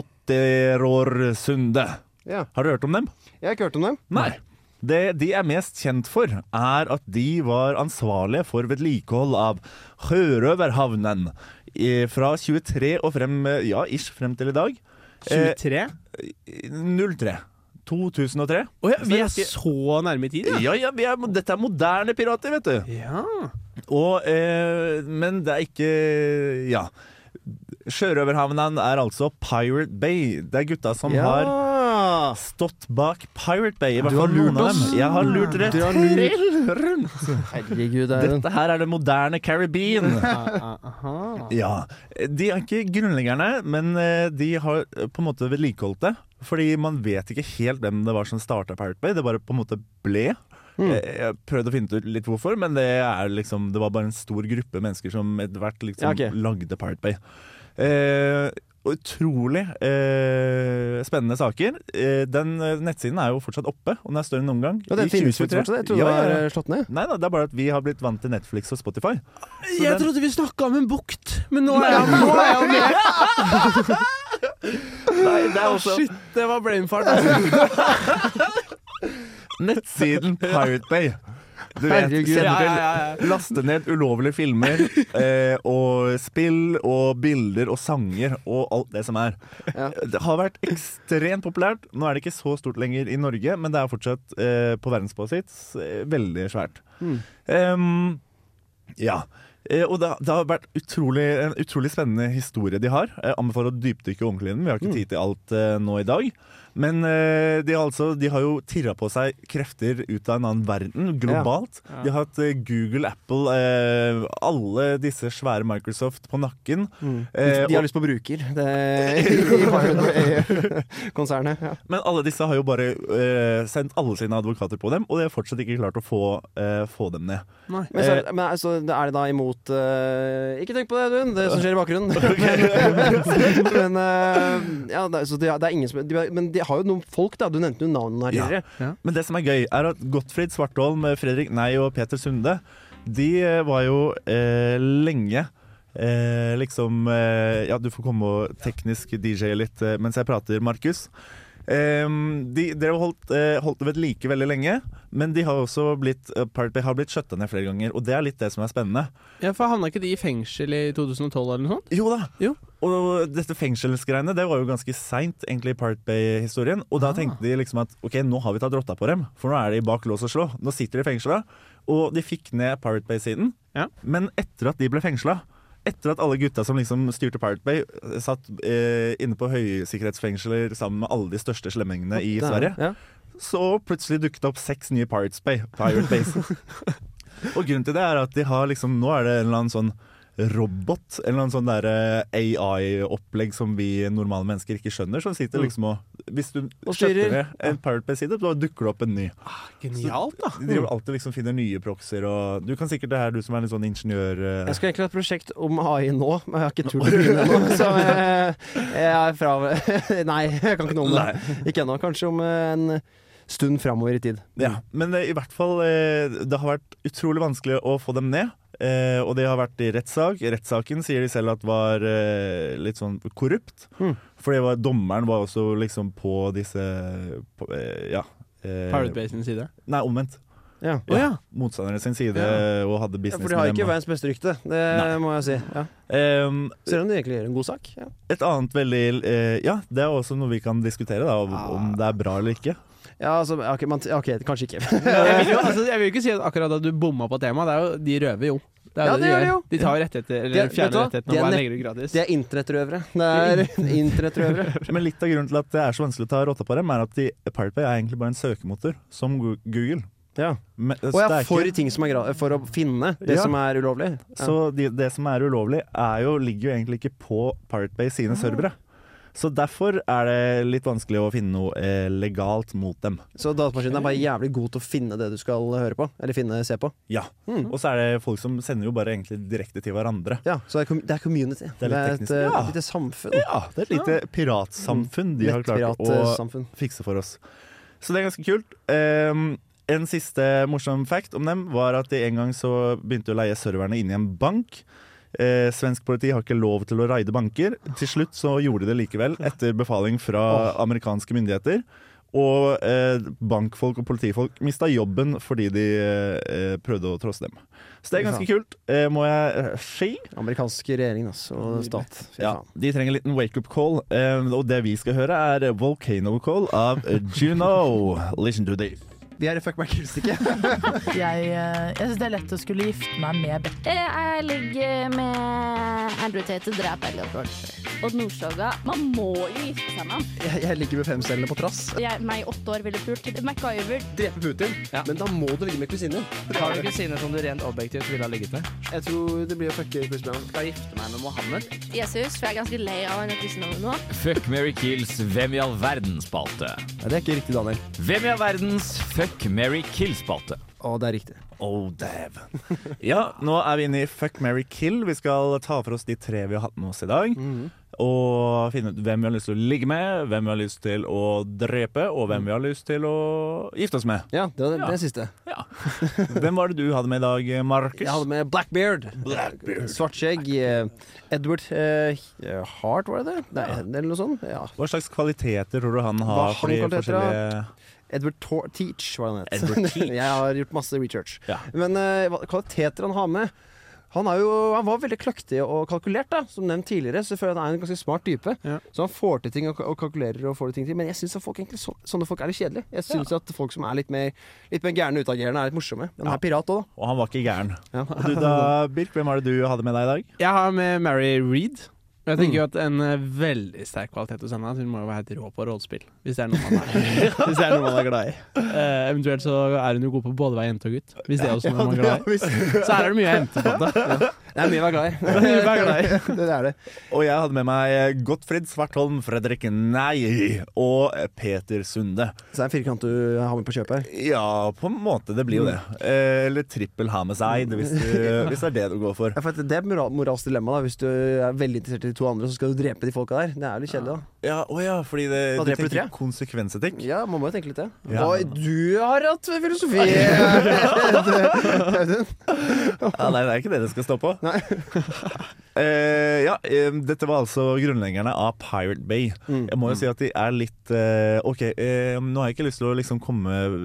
[SPEAKER 2] Popeteoteror Sunde.
[SPEAKER 3] Ja.
[SPEAKER 2] Har du hørt om dem?
[SPEAKER 3] Jeg har ikke hørt om dem.
[SPEAKER 2] Nei. Det de er mest kjent for, er at de var ansvarlige for vedlikehold av sjørøverhavnen eh, fra 23 og frem, eh, ja, ish, frem til i dag. Eh,
[SPEAKER 4] 23?
[SPEAKER 2] 03. 2003.
[SPEAKER 4] Å ja, vi er så nærme i tid, ja.
[SPEAKER 2] Ja, ja, vi er, dette er moderne pirater, vet du.
[SPEAKER 4] ja.
[SPEAKER 2] Og, eh, men det er ikke Ja. Sjørøverhavnen er altså Pirate Bay. Det er gutta som har
[SPEAKER 3] Ja.
[SPEAKER 2] stått bak Pirate Bay. I hvert
[SPEAKER 3] Du har
[SPEAKER 2] fall noen
[SPEAKER 3] lurt
[SPEAKER 2] av dem.
[SPEAKER 3] oss.
[SPEAKER 2] Jeg har lurt rett
[SPEAKER 3] Du har lurt.
[SPEAKER 2] til rundt.
[SPEAKER 3] Herregud, det er en
[SPEAKER 2] Dette her er det moderne Caribbean.
[SPEAKER 3] Ah,
[SPEAKER 4] Aha.
[SPEAKER 2] Ja, De er ikke grunnleggerne, men eh, de har eh, på en måte vedlikeholdt det. Fordi man vet ikke helt hvem det var som starta Pirate Bay. Det bare på en måte ble.
[SPEAKER 3] Mm.
[SPEAKER 2] Eh, Jeg prøvde å finne ut litt hvorfor, men det, er liksom, det var bare en stor gruppe mennesker som etter hvert liksom
[SPEAKER 3] Ja, ok.
[SPEAKER 2] lagde Pirate Bay. Eh, og utrolig eh, spennende saker. Eh, den eh, nettsiden er jo fortsatt oppe, og den er større enn noen gang.
[SPEAKER 3] Ja, den
[SPEAKER 2] I
[SPEAKER 3] finnes faktisk
[SPEAKER 2] 2023.
[SPEAKER 3] fortsatt. Jeg trodde
[SPEAKER 2] Ja, ja,
[SPEAKER 3] det
[SPEAKER 2] ja.
[SPEAKER 3] var eh, slått ned.
[SPEAKER 2] Nei da, det er bare at vi har blitt vant til Netflix og Spotify. Så
[SPEAKER 4] Jeg
[SPEAKER 2] den-
[SPEAKER 4] trodde vi snakka om en bukt, men nå er jeg, nå er jeg med!
[SPEAKER 2] Nei, det er også
[SPEAKER 4] Ah, Shit, det var brainfart. Altså.
[SPEAKER 2] nettsiden Pirate Bay. Du vet,
[SPEAKER 3] Herregud.
[SPEAKER 2] kjenner
[SPEAKER 4] Ja,
[SPEAKER 2] til
[SPEAKER 4] ja, ja,
[SPEAKER 2] Laste ned ulovlige filmer eh, og spill og bilder og sanger og alt det som er.
[SPEAKER 3] Ja.
[SPEAKER 2] Det har vært ekstremt populært. Nå er det ikke så stort lenger i Norge, men det er fortsatt eh, på verdensbasis eh, veldig svært. Em, ja. Eh, og det, det har vært utrolig, en utrolig spennende historie de har. Jeg anbefaler å dypdykke ordentlig i den. Vi har ikke tid til alt eh, nå i dag. Men eh, de, har altså, de har jo tirra på seg krefter ut av en annen verden, globalt. De har hatt eh, Google, Apple, eh, alle disse svære Microsoft på nakken. Eh,
[SPEAKER 3] Mm. De har
[SPEAKER 2] og,
[SPEAKER 3] lyst på bruker, det i Pirate Bay-konsernet. Ja.
[SPEAKER 2] men alle disse har jo bare eh, sendt alle sine advokater på dem, og de har fortsatt ikke klart å få, eh, få dem ned.
[SPEAKER 3] Men, så, men altså, er det da imot eh, Ikke tenk på det, Audun, det som skjer i bakgrunnen. men eh, ja, det, er- så det, er- det er ingen som de, Men de har jo noen folk, da. Du nevnte jo navnene her
[SPEAKER 2] Ja.
[SPEAKER 3] tidligere.
[SPEAKER 2] Men det som er gøy, er at Gottfried Svartholm, Fredrik Nei og Peter Sunde, de eh, var jo eh, lenge eh, liksom eh, Ja, du får komme og teknisk DJ litt eh, mens jeg prater, Markus. Ehm, de dere har holdt, eh, holdt det ved like veldig lenge, men de har også blitt eh, Pirate Bay har blitt skjøtta ned flere ganger. Og det er litt det som er spennende.
[SPEAKER 4] Ja, for Havna ikke de i fengsel i 2012 eller noe sånt?
[SPEAKER 2] Jo da.
[SPEAKER 4] Jo.
[SPEAKER 2] Og dette fengselsgreiene det var jo ganske seint egentlig i Pirate Bay-historien. Og da
[SPEAKER 3] Ah.
[SPEAKER 2] tenkte de liksom at ok, nå har vi tatt rotta på dem, for nå er de bak lås og slå. Nå sitter de i fengsla. Og de fikk ned Pirate Bay-siden.
[SPEAKER 4] Ja.
[SPEAKER 2] Men etter at de ble fengsla, etter at alle gutta som liksom styrte Pirate Bay, eh, satt eh, inne på høysikkerhetsfengsler sammen med alle de største slemmingene i
[SPEAKER 3] Det er-
[SPEAKER 2] Sverige,
[SPEAKER 3] Ja.
[SPEAKER 2] så plutselig dukket det opp seks nye Pirates Bay. Pirate Bays. og grunnen til det er at de har liksom Nå er det en eller annen sånn robot, en eller annen sånn der eh, AI-opplegg som vi normale mennesker ikke skjønner, som sitter liksom og Hvis du
[SPEAKER 3] Mm. Og styrer.
[SPEAKER 2] skjøtter ned en Pirate Bay-side, da dukker det opp en ny.
[SPEAKER 4] Genialt,
[SPEAKER 3] Ah.
[SPEAKER 4] da.
[SPEAKER 2] De driver alltid liksom finner nye proxyer og Du kan sikkert det her, du som er litt sånn ingeniør... eh,
[SPEAKER 3] Jeg skulle egentlig ha et prosjekt om AI nå, men jeg har ikke tur til å begynne ennå. Så jeg, jeg er fra Nei, jeg kan ikke noe om det. Ikke ennå. Kanskje om eh, en stund framover i tid.
[SPEAKER 2] Ja, men eh, i hvert fall eh, Det har vært utrolig vanskelig å få dem ned. Eh, og de har vært i rettssak. Rettssaken sier de selv at var eh, litt sånn korrupt.
[SPEAKER 3] Mm.
[SPEAKER 2] For det var, dommeren var også liksom på disse på, eh, Ja. eh,
[SPEAKER 4] Pirate Bay sin side.
[SPEAKER 2] Nei, omvendt.
[SPEAKER 3] Ja.
[SPEAKER 4] Å ja.
[SPEAKER 2] Motstanderne sin side
[SPEAKER 4] Ja.
[SPEAKER 2] og hadde business
[SPEAKER 3] For de har
[SPEAKER 2] med
[SPEAKER 3] ikke
[SPEAKER 2] dem.
[SPEAKER 3] verdens beste rykte, det
[SPEAKER 2] Nei.
[SPEAKER 3] må jeg si. Ja.
[SPEAKER 2] Ehm,
[SPEAKER 3] Selv om de egentlig gjør en god sak. Ja.
[SPEAKER 2] et annet veldig eh, Ja, det er også noe vi kan diskutere, da, om,
[SPEAKER 3] Ah.
[SPEAKER 2] om det er bra eller ikke.
[SPEAKER 3] Ja, altså, ok, man, ok, kanskje ikke.
[SPEAKER 4] Jeg vil, jo, altså, jeg vil jo ikke si at akkurat da du bomma på temaet, det er jo, de røver jo. Det er
[SPEAKER 3] Ja,
[SPEAKER 4] jo det
[SPEAKER 3] det
[SPEAKER 4] de,
[SPEAKER 3] gjør de
[SPEAKER 4] gjør.
[SPEAKER 3] jo.
[SPEAKER 4] de tar jo rettigheter,
[SPEAKER 3] Det-
[SPEAKER 4] eller
[SPEAKER 3] vet du
[SPEAKER 4] fjerner
[SPEAKER 3] hva?
[SPEAKER 4] rettighetene
[SPEAKER 3] Det
[SPEAKER 4] og
[SPEAKER 3] er
[SPEAKER 4] bare
[SPEAKER 3] nett-
[SPEAKER 4] legger det gratis.
[SPEAKER 3] De er internettrøvere. Det er internettrøvere.
[SPEAKER 2] Men litt av grunnen til at det er så vanskelig å ta rotta på dem, er at de, Pirate Bay er egentlig bare en søkemotor, som Gu- Google.
[SPEAKER 3] Ja.
[SPEAKER 2] Men,
[SPEAKER 3] Og jeg
[SPEAKER 2] det
[SPEAKER 3] er
[SPEAKER 2] er
[SPEAKER 3] for
[SPEAKER 2] ikke-
[SPEAKER 3] ting som er gra for å finne det
[SPEAKER 2] Ja.
[SPEAKER 3] som er ulovlig. Ja.
[SPEAKER 2] Så de, det som er ulovlig, er jo, ligger jo egentlig ikke på Pirate Bay sine servere. Så derfor er det litt vanskelig å finne noe eh, legalt mot dem.
[SPEAKER 3] Så datamaskinen er bare jævlig god til å finne det du skal høre på. Eller finne, se på.
[SPEAKER 2] Ja.
[SPEAKER 3] Hmm.
[SPEAKER 2] Og så er det folk som sender jo bare egentlig direkte til hverandre.
[SPEAKER 3] Ja, så det er, com- det er community.
[SPEAKER 2] er litt
[SPEAKER 3] et
[SPEAKER 2] teknisk.
[SPEAKER 3] eh,
[SPEAKER 2] Ja.
[SPEAKER 3] lite samfunn.
[SPEAKER 2] Ja, det er et lite piratsamfunn de har klart å
[SPEAKER 3] Nettpiratsamfunn.
[SPEAKER 2] fikse for oss. Så det er ganske kult. Ehm, en siste morsom fact om dem var at de en gang så begynte å leie serverne inn i en bank. Eh, svensk politi har ikke lov til å raide banker. Til slutt så gjorde de det likevel, etter befaling fra amerikanske myndigheter. Og eh, bankfolk og politifolk mista jobben fordi de eh, prøvde å trosse dem. Så det er ganske kult, eh, må jeg eh, si.
[SPEAKER 3] Amerikansk regjering altså, og stat. Fy
[SPEAKER 2] Ja,
[SPEAKER 3] faen.
[SPEAKER 2] de trenger en liten wake-up call. eh, og det vi skal høre, er Volcano Call av Juno. Listen to this.
[SPEAKER 3] Vi er i fuck meg kunststykke.
[SPEAKER 6] Jeg, eh, jeg syns det er lett å skulle gifte meg med Beck.
[SPEAKER 7] Eh, Jeg ligger med Andrew Tate og dreper Elliot Rodger. Odd Nordstoga. Man må jo gifte seg med ham.
[SPEAKER 3] Jeg, jeg ligger med femcellene på trass.
[SPEAKER 7] Jeg, meg i åtte år ville pult. MacGyver.
[SPEAKER 3] Drepe Putin. Men da må du ligge med kusinen.
[SPEAKER 8] Har du kusine som du rent objektivt ville ha ligget med?
[SPEAKER 3] Jeg tror det blir å fucke Chris
[SPEAKER 8] Skal jeg gifte meg med Mohammed?
[SPEAKER 7] Jesus, for jeg er ganske lei av han kristendommen nå.
[SPEAKER 5] Fuck Mary Kills Hvem i all verden-spalte.
[SPEAKER 3] Det er ikke riktig, Daniel.
[SPEAKER 5] Hvem i all verdens fuck
[SPEAKER 9] Fuck, Mary Kill-spalte.
[SPEAKER 3] Å, det er riktig.
[SPEAKER 2] Oh, dæven. Ja, nå er vi inne i Fuck, marry, kill. Vi skal ta for oss de tre vi har hatt med oss i dag.
[SPEAKER 3] Mhm.
[SPEAKER 2] Og finne ut hvem vi har lyst til å ligge med, hvem vi har lyst til å drepe, og hvem vi har lyst til å gifte oss med.
[SPEAKER 3] Ja, det var det,
[SPEAKER 2] Ja.
[SPEAKER 3] det siste.
[SPEAKER 2] Hvem var det du hadde med i dag, Markus?
[SPEAKER 3] Jeg hadde med Blackbeard. Svart skjegg. eh, Edward eh, Hart, var det det? Nei, eller noe sånt. Ja.
[SPEAKER 2] Hva slags kvaliteter tror du han
[SPEAKER 3] Hva
[SPEAKER 2] har?
[SPEAKER 3] har
[SPEAKER 2] for de
[SPEAKER 3] han kvaliteter,
[SPEAKER 2] forskjellige-
[SPEAKER 3] Edward Tor Teach, var det han
[SPEAKER 2] Edward
[SPEAKER 3] het.
[SPEAKER 2] Teach.
[SPEAKER 3] Jeg har gjort masse research.
[SPEAKER 2] Ja.
[SPEAKER 3] Men eh, hva kvaliteter han har med han, er jo, han var veldig kløktig og kalkulert, da som nevnt tidligere. Så jeg føler jeg han er en ganske smart type.
[SPEAKER 4] Ja.
[SPEAKER 3] Så han får til ting og, og kalkulerer. og får til ting til Men jeg syns så, sånne folk er litt kjedelige. Jeg syns at folk som er litt mer, litt mer gærne og utagerende, er litt morsomme. Men han er pirat òg, da.
[SPEAKER 2] Og han var ikke gæren. Og du da, Birk, hvem var det du hadde med deg i dag?
[SPEAKER 4] Jeg har med Mary Reed. Og Jeg tenker jo at En eh, veldig sterk kvalitet hos henne er at hun må jo være helt rå på rollespill. Hvis det er noe man er, hvis det er, noe man er glad i. Eh, eventuelt så er hun jo god på både å være jente og gutt. Hvis det er også noe man er glad i. Så her er det mye å hente. på det.
[SPEAKER 3] Det er mye å være glad i.
[SPEAKER 4] mye å være glad
[SPEAKER 3] i. det er det.
[SPEAKER 2] Og jeg hadde med meg Gottfrid Svartholm, Fredrik Nei og Peter Sunde.
[SPEAKER 3] Så det er en firkant du har med på kjøpet her.
[SPEAKER 2] Ja, på en måte. Det blir jo det. Eh, Eller trippel ha med seg, det- hvis, du, hvis det er det du går for.
[SPEAKER 3] Ja, for at det er moral, moralsk dilemma. da Hvis du er veldig interessert i de to andre, så skal du drepe de folka der. Det er jo litt kjedelig, da.
[SPEAKER 2] Ja, å ja, fordi det,
[SPEAKER 3] Da
[SPEAKER 2] du
[SPEAKER 3] dreper du
[SPEAKER 2] tenker
[SPEAKER 3] tre.
[SPEAKER 2] konsekvensetikk.
[SPEAKER 3] Ja, man må jo tenke litt det.
[SPEAKER 2] Ja.
[SPEAKER 3] Oi, du har hatt filosofi! Audun.
[SPEAKER 2] Ja, nei, det er ikke det det skal stå på.
[SPEAKER 3] Nei.
[SPEAKER 2] Eh, ja, eh, dette var altså grunnleggerne av Pirate Bay.
[SPEAKER 3] Mm.
[SPEAKER 2] Jeg må jo si at de er litt eh, OK, eh, nå har jeg ikke lyst til å liksom komme eh,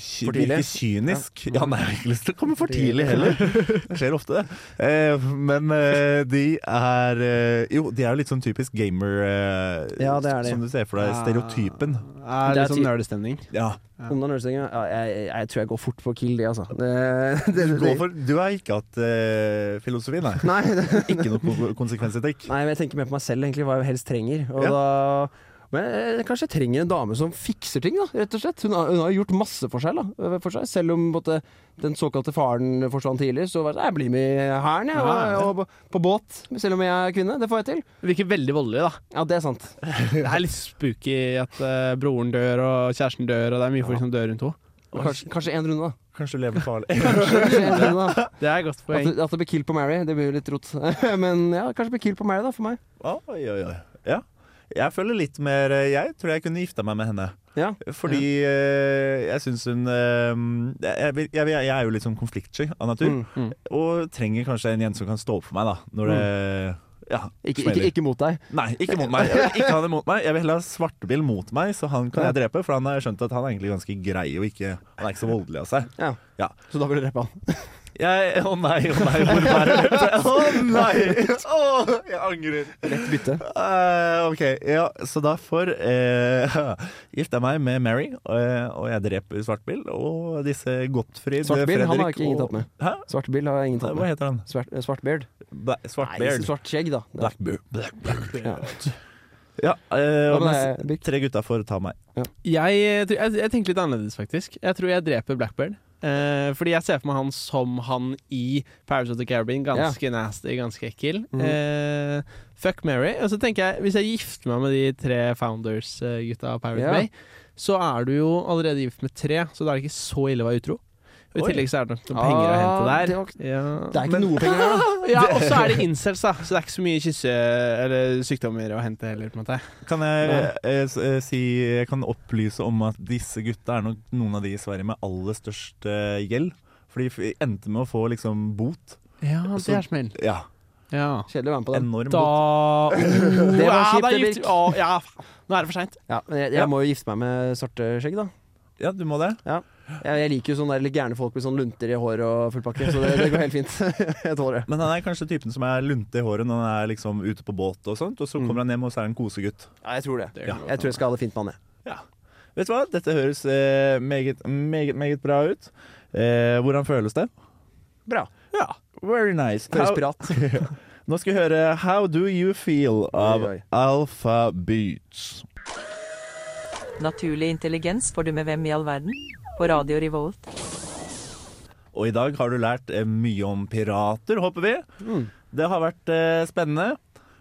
[SPEAKER 2] ky-
[SPEAKER 3] For tidlig.
[SPEAKER 2] Virke kynisk. Ja, nei, jeg har ikke lyst til å komme for tidlig heller. Det skjer ofte, det. Eh, men eh, de er eh, Jo, de er jo litt sånn typisk gamer, eh,
[SPEAKER 3] Ja, det er de.
[SPEAKER 2] som du ser for deg. Stereotypen.
[SPEAKER 4] Er
[SPEAKER 3] Det er
[SPEAKER 4] litt sånn
[SPEAKER 3] ti-
[SPEAKER 4] nerdestemning.
[SPEAKER 2] Ja.
[SPEAKER 3] Om den ølsenga ja, jeg, jeg, jeg tror jeg går fort på kill, det, altså. Det, det,
[SPEAKER 2] Du,
[SPEAKER 3] det,
[SPEAKER 2] går for, du har ikke hatt eh, filosofi, nei?
[SPEAKER 3] Nei, det,
[SPEAKER 2] Ikke noe ko- konsekvensetikk?
[SPEAKER 3] nei, men jeg tenker mer på meg selv, egentlig, hva jeg helst trenger. Og
[SPEAKER 2] Ja.
[SPEAKER 3] da men jeg, kanskje jeg trenger en dame som fikser ting, da, rett og slett. Hun har, hun har gjort masse for seg, da, øh, for seg. Selv om på en måte, den såkalte faren forsvant tidlig, så var det, sånn, jeg blir med i hæren, jeg. Og, og på, på båt, selv om jeg er kvinne. Det får jeg til.
[SPEAKER 4] Virker veldig voldelig, da.
[SPEAKER 3] Ja, det er sant.
[SPEAKER 4] Det er litt spooky at eh, broren dør, og kjæresten dør, og det er mye folk som dør rundt henne.
[SPEAKER 3] Men Kanskje, kanskje en runde, da.
[SPEAKER 2] Kanskje du lever farlig?
[SPEAKER 3] Kanskje en runde, da.
[SPEAKER 4] Det er et godt
[SPEAKER 3] At,
[SPEAKER 4] poeng.
[SPEAKER 3] det- at det blir kill på Mary, det blir jo litt rot. Men ja, kanskje det blir kill på Mary, da, for meg.
[SPEAKER 2] Oi, oi, oi. Ja. Jeg føler litt mer eh, Jeg tror jeg kunne gifta meg med henne.
[SPEAKER 3] Ja.
[SPEAKER 2] Fordi eh, jeg syns hun eh, jeg, vil- jeg, vil- jeg er jo litt sånn konfliktsky av natur.
[SPEAKER 3] Mm,
[SPEAKER 4] mm.
[SPEAKER 2] Og trenger kanskje en jente som kan stå opp for meg, da. Når det ja,
[SPEAKER 3] Mm. Ikke,
[SPEAKER 2] smeller.
[SPEAKER 3] ikke, ikke mot deg.
[SPEAKER 2] Nei, ikke mot meg. Jeg vil ikke ha det mot meg. Jeg vil heller ha Svartebil mot meg, så han kan jeg drepe. For han har skjønt at han er egentlig ganske grei og ikke Han er ikke så voldelig av seg.
[SPEAKER 3] Ja.
[SPEAKER 2] Ja.
[SPEAKER 3] Så da vil du drepe han.
[SPEAKER 2] Jeg, å nei, å nei, hvor var det? Å nei! Å, jeg angrer.
[SPEAKER 3] Rett bytte.
[SPEAKER 2] Eh, ok, ja, så derfor uh, gifta jeg meg med Mary, eh, og jeg dreper Svartbil og disse Gottfried
[SPEAKER 3] Svartbil,
[SPEAKER 2] Fredrik
[SPEAKER 3] han har ikke ingen
[SPEAKER 2] og-
[SPEAKER 3] tatt med.
[SPEAKER 2] Hæ?
[SPEAKER 3] Svart bil har jeg ingen tatt
[SPEAKER 2] Hva
[SPEAKER 3] med.
[SPEAKER 2] heter han?
[SPEAKER 3] Svart, eh, svart beard.
[SPEAKER 2] Bla
[SPEAKER 3] Nei,
[SPEAKER 2] Svartbeard.
[SPEAKER 3] svart skjegg, da. Ja.
[SPEAKER 2] Blackbeard. Blackbeard.
[SPEAKER 3] Ja.
[SPEAKER 2] Ja, eh,
[SPEAKER 3] Hva
[SPEAKER 2] og
[SPEAKER 3] med
[SPEAKER 2] mens
[SPEAKER 3] deg, Birk?
[SPEAKER 2] tre gutta får ta meg.
[SPEAKER 4] Jeg, eh, tror- jeg, jeg tenker litt annerledes, faktisk. Jeg tror jeg dreper Blackbird. Eh, fordi jeg ser for meg han som han i Pirates of the Caribbean. Ganske nasty, ganske ekkel.
[SPEAKER 3] Mhm.
[SPEAKER 4] Eh, fuck Mary. Og så tenker jeg, hvis jeg gifter meg med de tre Founders-gutta av Pirate
[SPEAKER 3] Ja.
[SPEAKER 4] Bay, så er du jo allerede gift med tre, så da er det ikke så ille å være utro. Og I
[SPEAKER 2] Oi.
[SPEAKER 4] tillegg så er det nok noen penger å hente
[SPEAKER 3] Ah,
[SPEAKER 4] der.
[SPEAKER 3] det var-
[SPEAKER 4] ja.
[SPEAKER 3] Det er ikke noe penger der, da.
[SPEAKER 4] Ja, og så er det incels, da. Så det er ikke så mye kysse eller sykdommer å hente heller. på en måte
[SPEAKER 2] Kan jeg eh, s- eh, si Jeg kan opplyse om at disse gutta er nok noen av de i Sverige med aller størst eh, gjeld. For de f- endte med å få liksom bot.
[SPEAKER 4] Ja,
[SPEAKER 2] det er
[SPEAKER 4] smell.
[SPEAKER 2] Ja,
[SPEAKER 4] Ja.
[SPEAKER 3] Kjedelig å være med på den.
[SPEAKER 2] enorm bot.
[SPEAKER 4] Da Det
[SPEAKER 3] var kjipt,
[SPEAKER 4] det,
[SPEAKER 3] Birk.
[SPEAKER 4] gift- Å, ja, faen. Nå er det for seint.
[SPEAKER 3] Ja, men jeg,
[SPEAKER 2] Ja.
[SPEAKER 3] jeg må jo gifte meg med svarte skjegg, da.
[SPEAKER 2] Ja, du må det.
[SPEAKER 3] Jeg, jeg liker jo sånne der litt gærne folk med sånn lunter i hår og full pakke, så det, det går helt fint. Jeg tåler det.
[SPEAKER 2] Men han er kanskje typen som er lunte i håret når han er liksom ute på båt og sånt, og så kommer han hjem og så er han en kosegutt.
[SPEAKER 3] Ja, jeg tror det.
[SPEAKER 4] Det kan
[SPEAKER 3] Jeg tror jeg skal ha det fint med han, jeg.
[SPEAKER 2] Vet du hva, dette høres eh, meget, meget, meget bra ut. Eh, hvordan føles det?
[SPEAKER 3] Bra.
[SPEAKER 2] Ja. Very nice.
[SPEAKER 3] Føles
[SPEAKER 2] How-
[SPEAKER 3] pirat.
[SPEAKER 2] Nå skal vi høre How Do You Feel av
[SPEAKER 3] Oi, oi.
[SPEAKER 2] Alpha Beats.
[SPEAKER 10] Naturlig intelligens får du med hvem i all verden? På Radio Revolt.
[SPEAKER 2] Og i dag har du lært eh, mye om pirater, håper vi. Det har vært eh, spennende.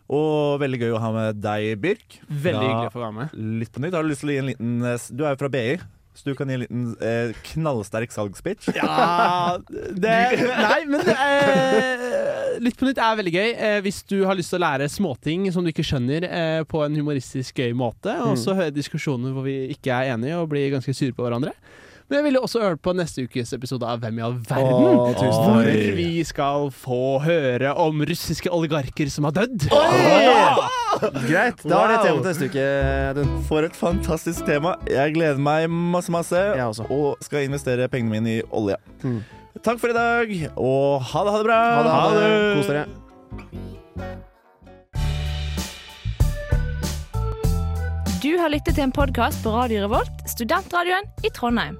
[SPEAKER 2] Og veldig gøy å ha med deg, Birk.
[SPEAKER 4] Veldig
[SPEAKER 2] Ja.
[SPEAKER 4] hyggelig å få være med.
[SPEAKER 2] Litt på nytt. Har du lyst til å gi en liten eh, s- Du er jo fra BI, Så du kan gi en liten eh, knallsterk salgspitch.
[SPEAKER 4] Ja Ah, det, Nei, men eh, Litt på nytt er veldig gøy. Eh, hvis du har lyst til å lære småting som du ikke skjønner, eh, på en humoristisk gøy måte, og
[SPEAKER 2] Mm.
[SPEAKER 4] så høre diskusjoner hvor vi ikke er enige og blir ganske sure på hverandre. Men jeg ville også høre på neste ukes episode av Hvem i all verden?
[SPEAKER 3] Å, tusen takk.
[SPEAKER 4] hvor
[SPEAKER 2] Oi.
[SPEAKER 4] vi skal få høre om russiske oligarker som har dødd.
[SPEAKER 3] Greit. Da er det
[SPEAKER 2] Wow.
[SPEAKER 3] temaet neste uke, Audun.
[SPEAKER 2] For et fantastisk tema. Jeg gleder meg masse, masse.
[SPEAKER 3] Jeg også.
[SPEAKER 2] Og skal investere pengene mine i olje.
[SPEAKER 3] Mm.
[SPEAKER 2] Takk for i dag, og ha det, ha det bra.
[SPEAKER 3] Ha det. Ha det. Kos dere.
[SPEAKER 7] Du har lyttet til en podkast på Radio Revolt, studentradioen i Trondheim.